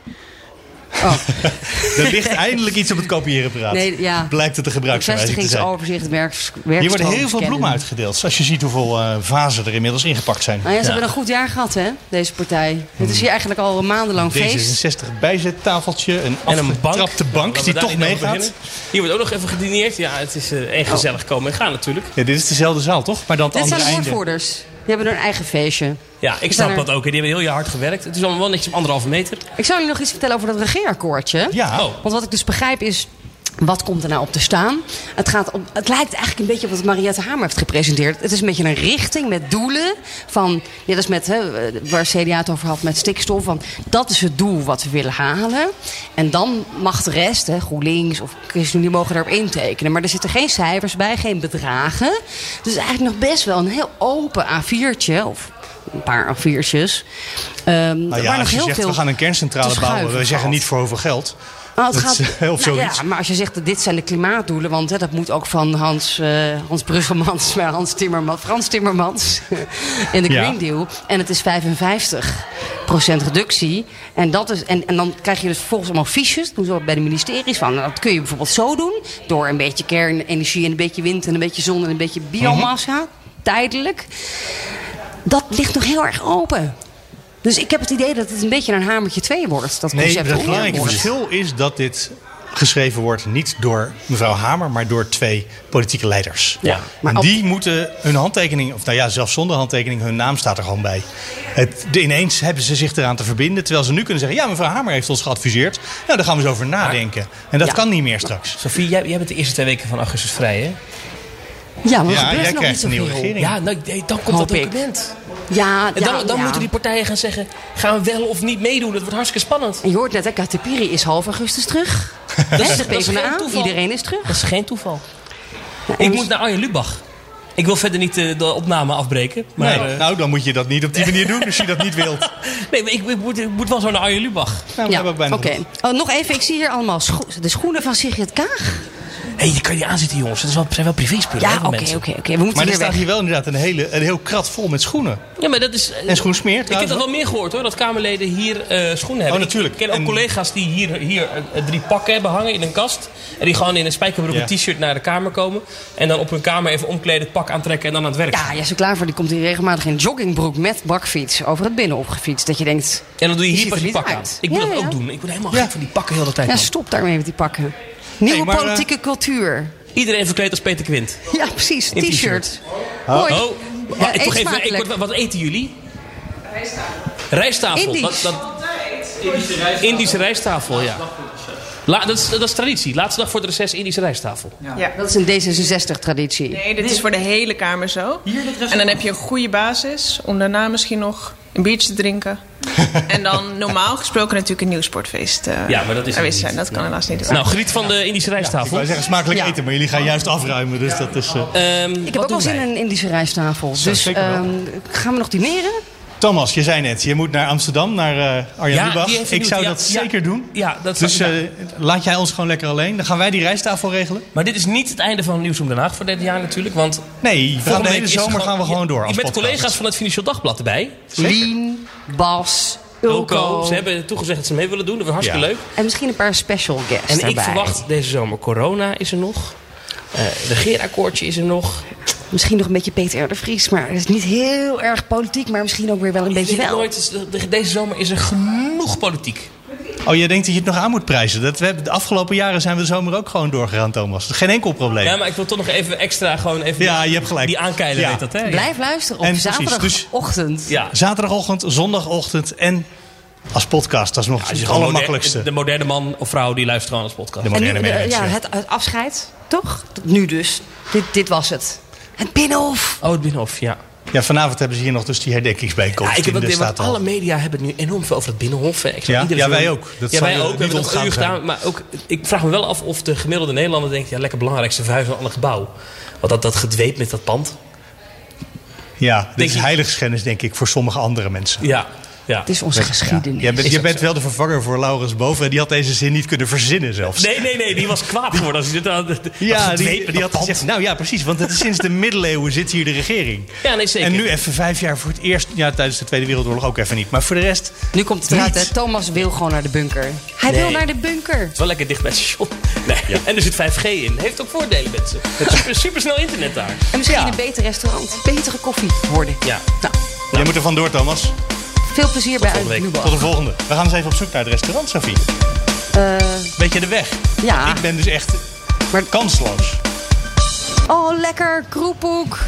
Speaker 2: Er ligt eindelijk iets op het kopieerapparaat.
Speaker 3: Nee, ja.
Speaker 2: Blijkt het een gebruiksaanwijzing te zijn.
Speaker 3: Vestigingsoverzicht, werks,
Speaker 2: Hier worden heel veel bloemen uitgedeeld. Als je ziet hoeveel eh, vazen er inmiddels ingepakt zijn.
Speaker 3: Nou ja, ze hebben een goed jaar gehad, hè, deze partij. Het
Speaker 2: Hmm.
Speaker 3: is hier eigenlijk al maandenlang feest.
Speaker 2: D66 bijzettafeltje, een
Speaker 4: En een bank. Nou,
Speaker 2: afgetrapte bank,
Speaker 4: Laten we
Speaker 2: die
Speaker 4: daar
Speaker 2: toch
Speaker 4: niet over
Speaker 2: meegaat. Oh.
Speaker 4: beginnen. Hier wordt ook nog even gedineerd. Ja, het is eh, een gezellig komen en gaan natuurlijk.
Speaker 2: Ja, dit is dezelfde zaal, toch? Maar dan het
Speaker 3: Dit zijn
Speaker 2: andere
Speaker 3: de
Speaker 2: einde.
Speaker 3: woordvoerders. Die hebben hun eigen feestje.
Speaker 4: Ja, ik
Speaker 3: zijn
Speaker 4: snap
Speaker 3: er-
Speaker 4: dat ook. hè. Die hebben heel hard gewerkt. Het is allemaal wel netjes op anderhalve meter.
Speaker 3: Ik zou jullie nog iets vertellen over dat regeerakkoordje.
Speaker 2: Ja, Nou
Speaker 4: Oh.
Speaker 3: Want wat ik dus begrijp is. Wat komt er nou op te staan? Het, gaat om, het lijkt eigenlijk een beetje op wat Mariette Hamer heeft gepresenteerd. Het is een beetje een richting met doelen. Van, ja, dat is met, hè, waar CDA het over had met stikstof. Van, dat is het doel wat we willen halen. En dan mag de rest, hè, GroenLinks of ChristenUnie, mogen daarop intekenen. Maar er zitten geen cijfers bij, geen bedragen. Dus eigenlijk nog best wel een heel open A4'tje. Of een paar A4'tjes. ehm,
Speaker 2: Nou ja, als
Speaker 3: waar nog
Speaker 2: je
Speaker 3: heel
Speaker 2: zegt
Speaker 3: veel
Speaker 2: we gaan een kerncentrale
Speaker 3: te
Speaker 2: bouwen, we
Speaker 3: schuiven
Speaker 2: zeggen
Speaker 3: valt.
Speaker 2: niet voor hoeveel geld.
Speaker 3: Oh, het
Speaker 2: Dat is,
Speaker 3: gaat,
Speaker 2: eh, of
Speaker 3: Nou
Speaker 2: zoiets.
Speaker 3: Ja, maar als je zegt dat dit zijn de klimaatdoelen, want hè, dat moet ook van Hans, eh Hans Bruggemans, maar Hans Timmermans, Frans Timmermans in de
Speaker 2: Ja.
Speaker 3: Green Deal. En het is 55 reductie. En, dat is, en, en dan krijg je dus volgens allemaal fiches, doen ze ook bij de ministeries van. nou, Dat kun je bijvoorbeeld zo doen, door een beetje kernenergie en een beetje wind en een beetje zon en een beetje biomassa,
Speaker 2: Mhm.
Speaker 3: tijdelijk. Dat ligt nog heel erg open. Dus ik heb het idee dat het een beetje een hamertje 2 wordt. Dat
Speaker 2: Nee, Dus
Speaker 3: concept
Speaker 2: het belangrijke
Speaker 3: regeerakkoord.
Speaker 2: verschil is dat dit geschreven wordt niet door mevrouw Hamer, maar door twee politieke leiders.
Speaker 4: Ja.
Speaker 3: Maar
Speaker 2: en
Speaker 3: op-
Speaker 2: die moeten hun handtekening, of nou ja, zelfs zonder handtekening, hun naam staat er gewoon bij. Het, de, ineens hebben ze zich eraan te verbinden, terwijl ze nu kunnen zeggen: ja, mevrouw Hamer heeft ons geadviseerd. Nou, daar gaan we eens over nadenken. En dat
Speaker 3: Ja.
Speaker 2: kan niet meer straks.
Speaker 4: Sophie, jij, jij bent de eerste twee weken van augustus vrij, hè?
Speaker 3: Ja, maar er
Speaker 2: Ja,
Speaker 3: gebeurt
Speaker 2: jij
Speaker 3: nog
Speaker 2: krijgt een
Speaker 3: niet
Speaker 2: nieuwe
Speaker 3: zoveel.
Speaker 2: regering.
Speaker 4: Ja, nou, nee, dan komt
Speaker 3: Hoop
Speaker 4: dat
Speaker 3: ik.
Speaker 4: document.
Speaker 3: Ja,
Speaker 4: En dan,
Speaker 3: ja,
Speaker 4: dan
Speaker 3: ja.
Speaker 4: moeten die partijen gaan zeggen, gaan we wel of niet meedoen? Dat wordt hartstikke spannend.
Speaker 3: En je hoort net, hè, Katipiri is half augustus terug. Dat
Speaker 4: is-
Speaker 3: is de
Speaker 4: dat is geen
Speaker 3: PvdA,
Speaker 4: toeval.
Speaker 3: iedereen is terug.
Speaker 4: Dat is geen toeval.
Speaker 3: Nou,
Speaker 4: Ik
Speaker 3: en-
Speaker 4: moet naar Arjen Lubach. Ik wil verder niet eh, de opname afbreken. Maar,
Speaker 2: Nee,
Speaker 4: eh,
Speaker 2: nou, dan moet je dat niet op die manier doen als je dat niet wilt.
Speaker 4: nee, maar ik, ik moet, ik moet wel zo naar Arjen Lubach.
Speaker 2: Nou, we
Speaker 3: ja,
Speaker 2: hebben
Speaker 3: oké.
Speaker 2: bijna genoeg.
Speaker 3: Oh, nog even, ik zie hier allemaal scho- de schoenen van Sigrid Kaag.
Speaker 4: Hé, die kan je niet aanzitten, jongens. Dat is wel, zijn wel privéspullen.
Speaker 3: Ja,
Speaker 4: hè, van
Speaker 3: oké, oké,
Speaker 4: mensen.
Speaker 3: oké. We moeten
Speaker 2: Maar er
Speaker 3: hier
Speaker 2: staat
Speaker 3: weg.
Speaker 2: hier wel inderdaad een, hele, een heel krat vol met schoenen.
Speaker 4: Ja, maar dat is... eh,
Speaker 2: En schoensmeer
Speaker 4: Ik heb
Speaker 2: trouwens
Speaker 4: dat wel
Speaker 2: ook. Oh,
Speaker 4: meer gehoord hoor, dat Kamerleden hier eh, schoenen hebben.
Speaker 2: natuurlijk.
Speaker 4: Ik ken ook
Speaker 2: En-
Speaker 4: collega's die hier, hier eh, drie pakken hebben hangen in een kast. En die gewoon in een spijkerbroek
Speaker 2: Ja.
Speaker 4: en t-shirt naar de kamer komen. En dan op hun kamer even omkleden, het pak aantrekken en dan aan het werk.
Speaker 3: Ja, Jesse Klaver die komt hier regelmatig in joggingbroek met bakfiets over het binnen opgefietst. Dat je denkt,
Speaker 4: En dan doe
Speaker 3: Die
Speaker 4: je hier
Speaker 3: ziet
Speaker 4: pas
Speaker 3: er
Speaker 4: je
Speaker 3: niet
Speaker 4: pak aan.
Speaker 3: uit.
Speaker 4: Ik moet
Speaker 3: Ja,
Speaker 4: dat
Speaker 3: ja.
Speaker 4: ook doen. Ik word helemaal
Speaker 2: Ja.
Speaker 4: gek van die pakken heel de tijd.
Speaker 3: ja,
Speaker 4: man.
Speaker 3: stop daarmee met die pakken. Nieuwe
Speaker 2: Hey, maar, eh,
Speaker 3: politieke cultuur.
Speaker 4: Iedereen verkleed als Peter Quint.
Speaker 3: Ja, precies.
Speaker 4: in
Speaker 3: T-shirt.
Speaker 4: t-shirt.
Speaker 3: Hoi.
Speaker 4: Oh, maar
Speaker 3: eet
Speaker 4: toch even,
Speaker 3: smakelijk.
Speaker 4: ik word- wat eten jullie? Rijsttafel.
Speaker 3: Indisch.
Speaker 4: Dat, dat, Indische rijsttafel, ja. La, dat, is, dat is traditie. Laatste dag voor het reces, Indische rijsttafel.
Speaker 10: Ja.
Speaker 3: Dat is een D66-traditie.
Speaker 10: Nee, dit is voor de hele kamer zo. En dan heb je een goede basis om daarna misschien nog een biertje te drinken. en dan normaal gesproken natuurlijk een nieuwsportfeest. eh,
Speaker 4: Ja, maar dat is het
Speaker 10: aanwezig
Speaker 4: niet.
Speaker 10: zijn. Dat kan helaas niet.
Speaker 4: Nou, geniet van de Indische
Speaker 2: Ik
Speaker 4: rijsttafel.
Speaker 2: wou zeggen smakelijk
Speaker 3: Ja.
Speaker 2: eten, maar jullie gaan juist afruimen. Dus dat is, eh,
Speaker 4: Ehm,
Speaker 3: Ik
Speaker 4: wat
Speaker 3: heb ook wel
Speaker 4: doen
Speaker 3: zin in
Speaker 4: wij?
Speaker 3: een Indische rijsttafel. Dus
Speaker 2: zeker wel.
Speaker 3: ehm, gaan we nog dineren?
Speaker 2: Thomas, je zei net, je moet naar Amsterdam, naar eh Arjan
Speaker 4: Ja,
Speaker 2: Lubach.
Speaker 4: die heeft
Speaker 2: Ik zou
Speaker 4: benieuwd.
Speaker 2: dat
Speaker 4: Ja, ja.
Speaker 2: zeker doen.
Speaker 4: Ja, dat
Speaker 2: Dus
Speaker 4: zou-
Speaker 2: eh, laat jij ons gewoon lekker alleen. Dan gaan wij die rijsttafel regelen.
Speaker 4: Maar dit is niet het einde van Nieuws om Den Haag voor dit jaar natuurlijk. Want
Speaker 2: Nee, we gaan
Speaker 4: volgende
Speaker 2: de
Speaker 4: week
Speaker 2: hele
Speaker 4: is het
Speaker 2: zomer gaan we gewoon door.
Speaker 4: Je
Speaker 2: als
Speaker 4: bent
Speaker 2: podcast.
Speaker 4: collega's van het Financieel Dagblad erbij.
Speaker 3: Lien, Bas, Ulko.
Speaker 4: Ze hebben toegezegd dat ze mee willen doen. Dat was
Speaker 2: Ja.
Speaker 4: hartstikke leuk.
Speaker 3: En misschien een paar special guests
Speaker 4: En ik
Speaker 3: daarbij.
Speaker 4: verwacht deze zomer corona is er nog. Eh regeerakkoordje is er nog.
Speaker 3: Misschien nog een beetje Peter R. de Vries. Maar dat is niet heel erg politiek. Maar misschien ook weer wel een beetje
Speaker 4: Ik weet
Speaker 3: wel.
Speaker 4: nooit, dus de- de- deze zomer is er genoeg politiek.
Speaker 2: Oh, jij denkt dat je het nog aan moet prijzen. Dat we hebben, de afgelopen jaren zijn we de zomer ook gewoon doorgegaan, Thomas. Geen enkel probleem.
Speaker 4: Ja, maar ik wil toch nog even extra gewoon even
Speaker 2: Ja, je hebt gelijk.
Speaker 4: die aankeilen,
Speaker 2: Ja.
Speaker 4: weet dat hè? Ja.
Speaker 3: Blijf luisteren op
Speaker 2: En precies,
Speaker 3: zaterdagochtend.
Speaker 4: Ja.
Speaker 2: Zaterdagochtend, zondagochtend en als podcast. Dat is nog
Speaker 4: Als je
Speaker 2: het
Speaker 4: gewoon
Speaker 2: allermakkelijkste.
Speaker 4: moder- De moderne man of vrouw die luistert gewoon als podcast.
Speaker 2: De
Speaker 3: En nu,
Speaker 2: moderne
Speaker 3: de-
Speaker 2: mens,
Speaker 3: ja,
Speaker 2: ja.
Speaker 3: het, het afscheid, toch? Nu dus. Dit, dit was het. Het Binnenhof.
Speaker 4: Oh, het Binnenhof, ja.
Speaker 2: Ja, vanavond hebben ze hier nog dus die herdenkingsbijeenkomst.
Speaker 4: Ja, ik heb
Speaker 2: in de
Speaker 4: ook idee, want
Speaker 2: stadhal.
Speaker 4: alle media hebben het nu enorm veel over het Binnenhof. Ik snap
Speaker 2: Ja,
Speaker 4: iedere
Speaker 2: ja,
Speaker 4: film-
Speaker 2: wij ook. Dat
Speaker 4: ja,
Speaker 2: zal
Speaker 4: wij
Speaker 2: je
Speaker 4: ook.
Speaker 2: niet
Speaker 4: We hebben het een
Speaker 2: ontgaan
Speaker 4: uur
Speaker 2: zijn.
Speaker 4: gedaan. Maar ook, ik vraag me wel af of de gemiddelde Nederlander denkt... ja, lekker belangrijkste verhuizen naar een ander gebouw. Want dat, dat gedweep met dat pand.
Speaker 2: Ja, dit is heiligschennis, denk ik, voor sommige andere mensen.
Speaker 4: Ja, ja.
Speaker 3: Het is onze geschiedenis.
Speaker 2: Je bent,
Speaker 4: Is
Speaker 2: je
Speaker 4: dat
Speaker 2: bent wel de vervanger voor Laurens Boven. En die had deze zin niet kunnen verzinnen zelfs.
Speaker 4: Nee, nee, nee. Die was kwaad geworden als hij dit aan
Speaker 2: Ja, die, die had gezegd, nou ja, precies. Want het is sinds de middeleeuwen zit hier de regering.
Speaker 4: Ja, nee, zeker.
Speaker 2: En nu even vijf jaar voor het eerst. Ja, tijdens de Tweede Wereldoorlog ook even niet. Maar voor de rest...
Speaker 3: Nu komt het eruit, hè? Thomas wil gewoon naar de bunker. Hij
Speaker 4: Nee.
Speaker 3: wil naar de bunker.
Speaker 4: Het is wel lekker dicht bij het station. Nee. En er zit 5G in. Heeft ook voordelen, mensen. Het is super, snel internet daar.
Speaker 3: En misschien een beter restaurant, betere koffie worden. Nou,
Speaker 4: Ja.
Speaker 2: Jij moet er vandoor, Thomas.
Speaker 3: Veel plezier bij Uit Lubach.
Speaker 2: Tot de volgende. We gaan eens even op zoek naar het restaurant, Sophie.
Speaker 3: Eh,
Speaker 2: Weet je de weg?
Speaker 3: Ja.
Speaker 2: Ik ben dus echt kansloos.
Speaker 3: oh, lekker kroepoek.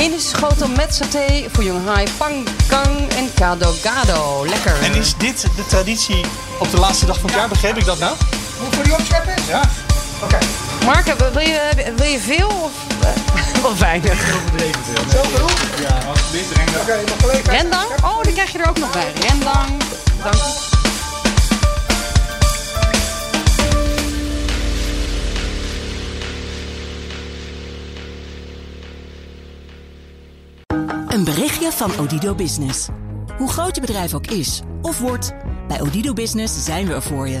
Speaker 3: Indische schotel met saté voor Jong Hai, Pang Kang en Kado Gado. Lekker.
Speaker 2: En is dit de traditie op de laatste dag van het jaar? Begreep ik dat nou?
Speaker 11: Moet voor die opscheppen?
Speaker 2: Ja.
Speaker 11: Oké.
Speaker 3: Mark, heb- wil je, wil je veel of, eh, of weinig?
Speaker 11: Zo genoeg? Ja, alsjeblieft. Oké, mijn collega.
Speaker 3: Rendang? Oh, dan krijg je er ook nog bij. Rendang. Dank je.
Speaker 12: Een berichtje van Odido Business. Hoe groot je bedrijf ook is of wordt, bij Odido Business zijn we er voor je.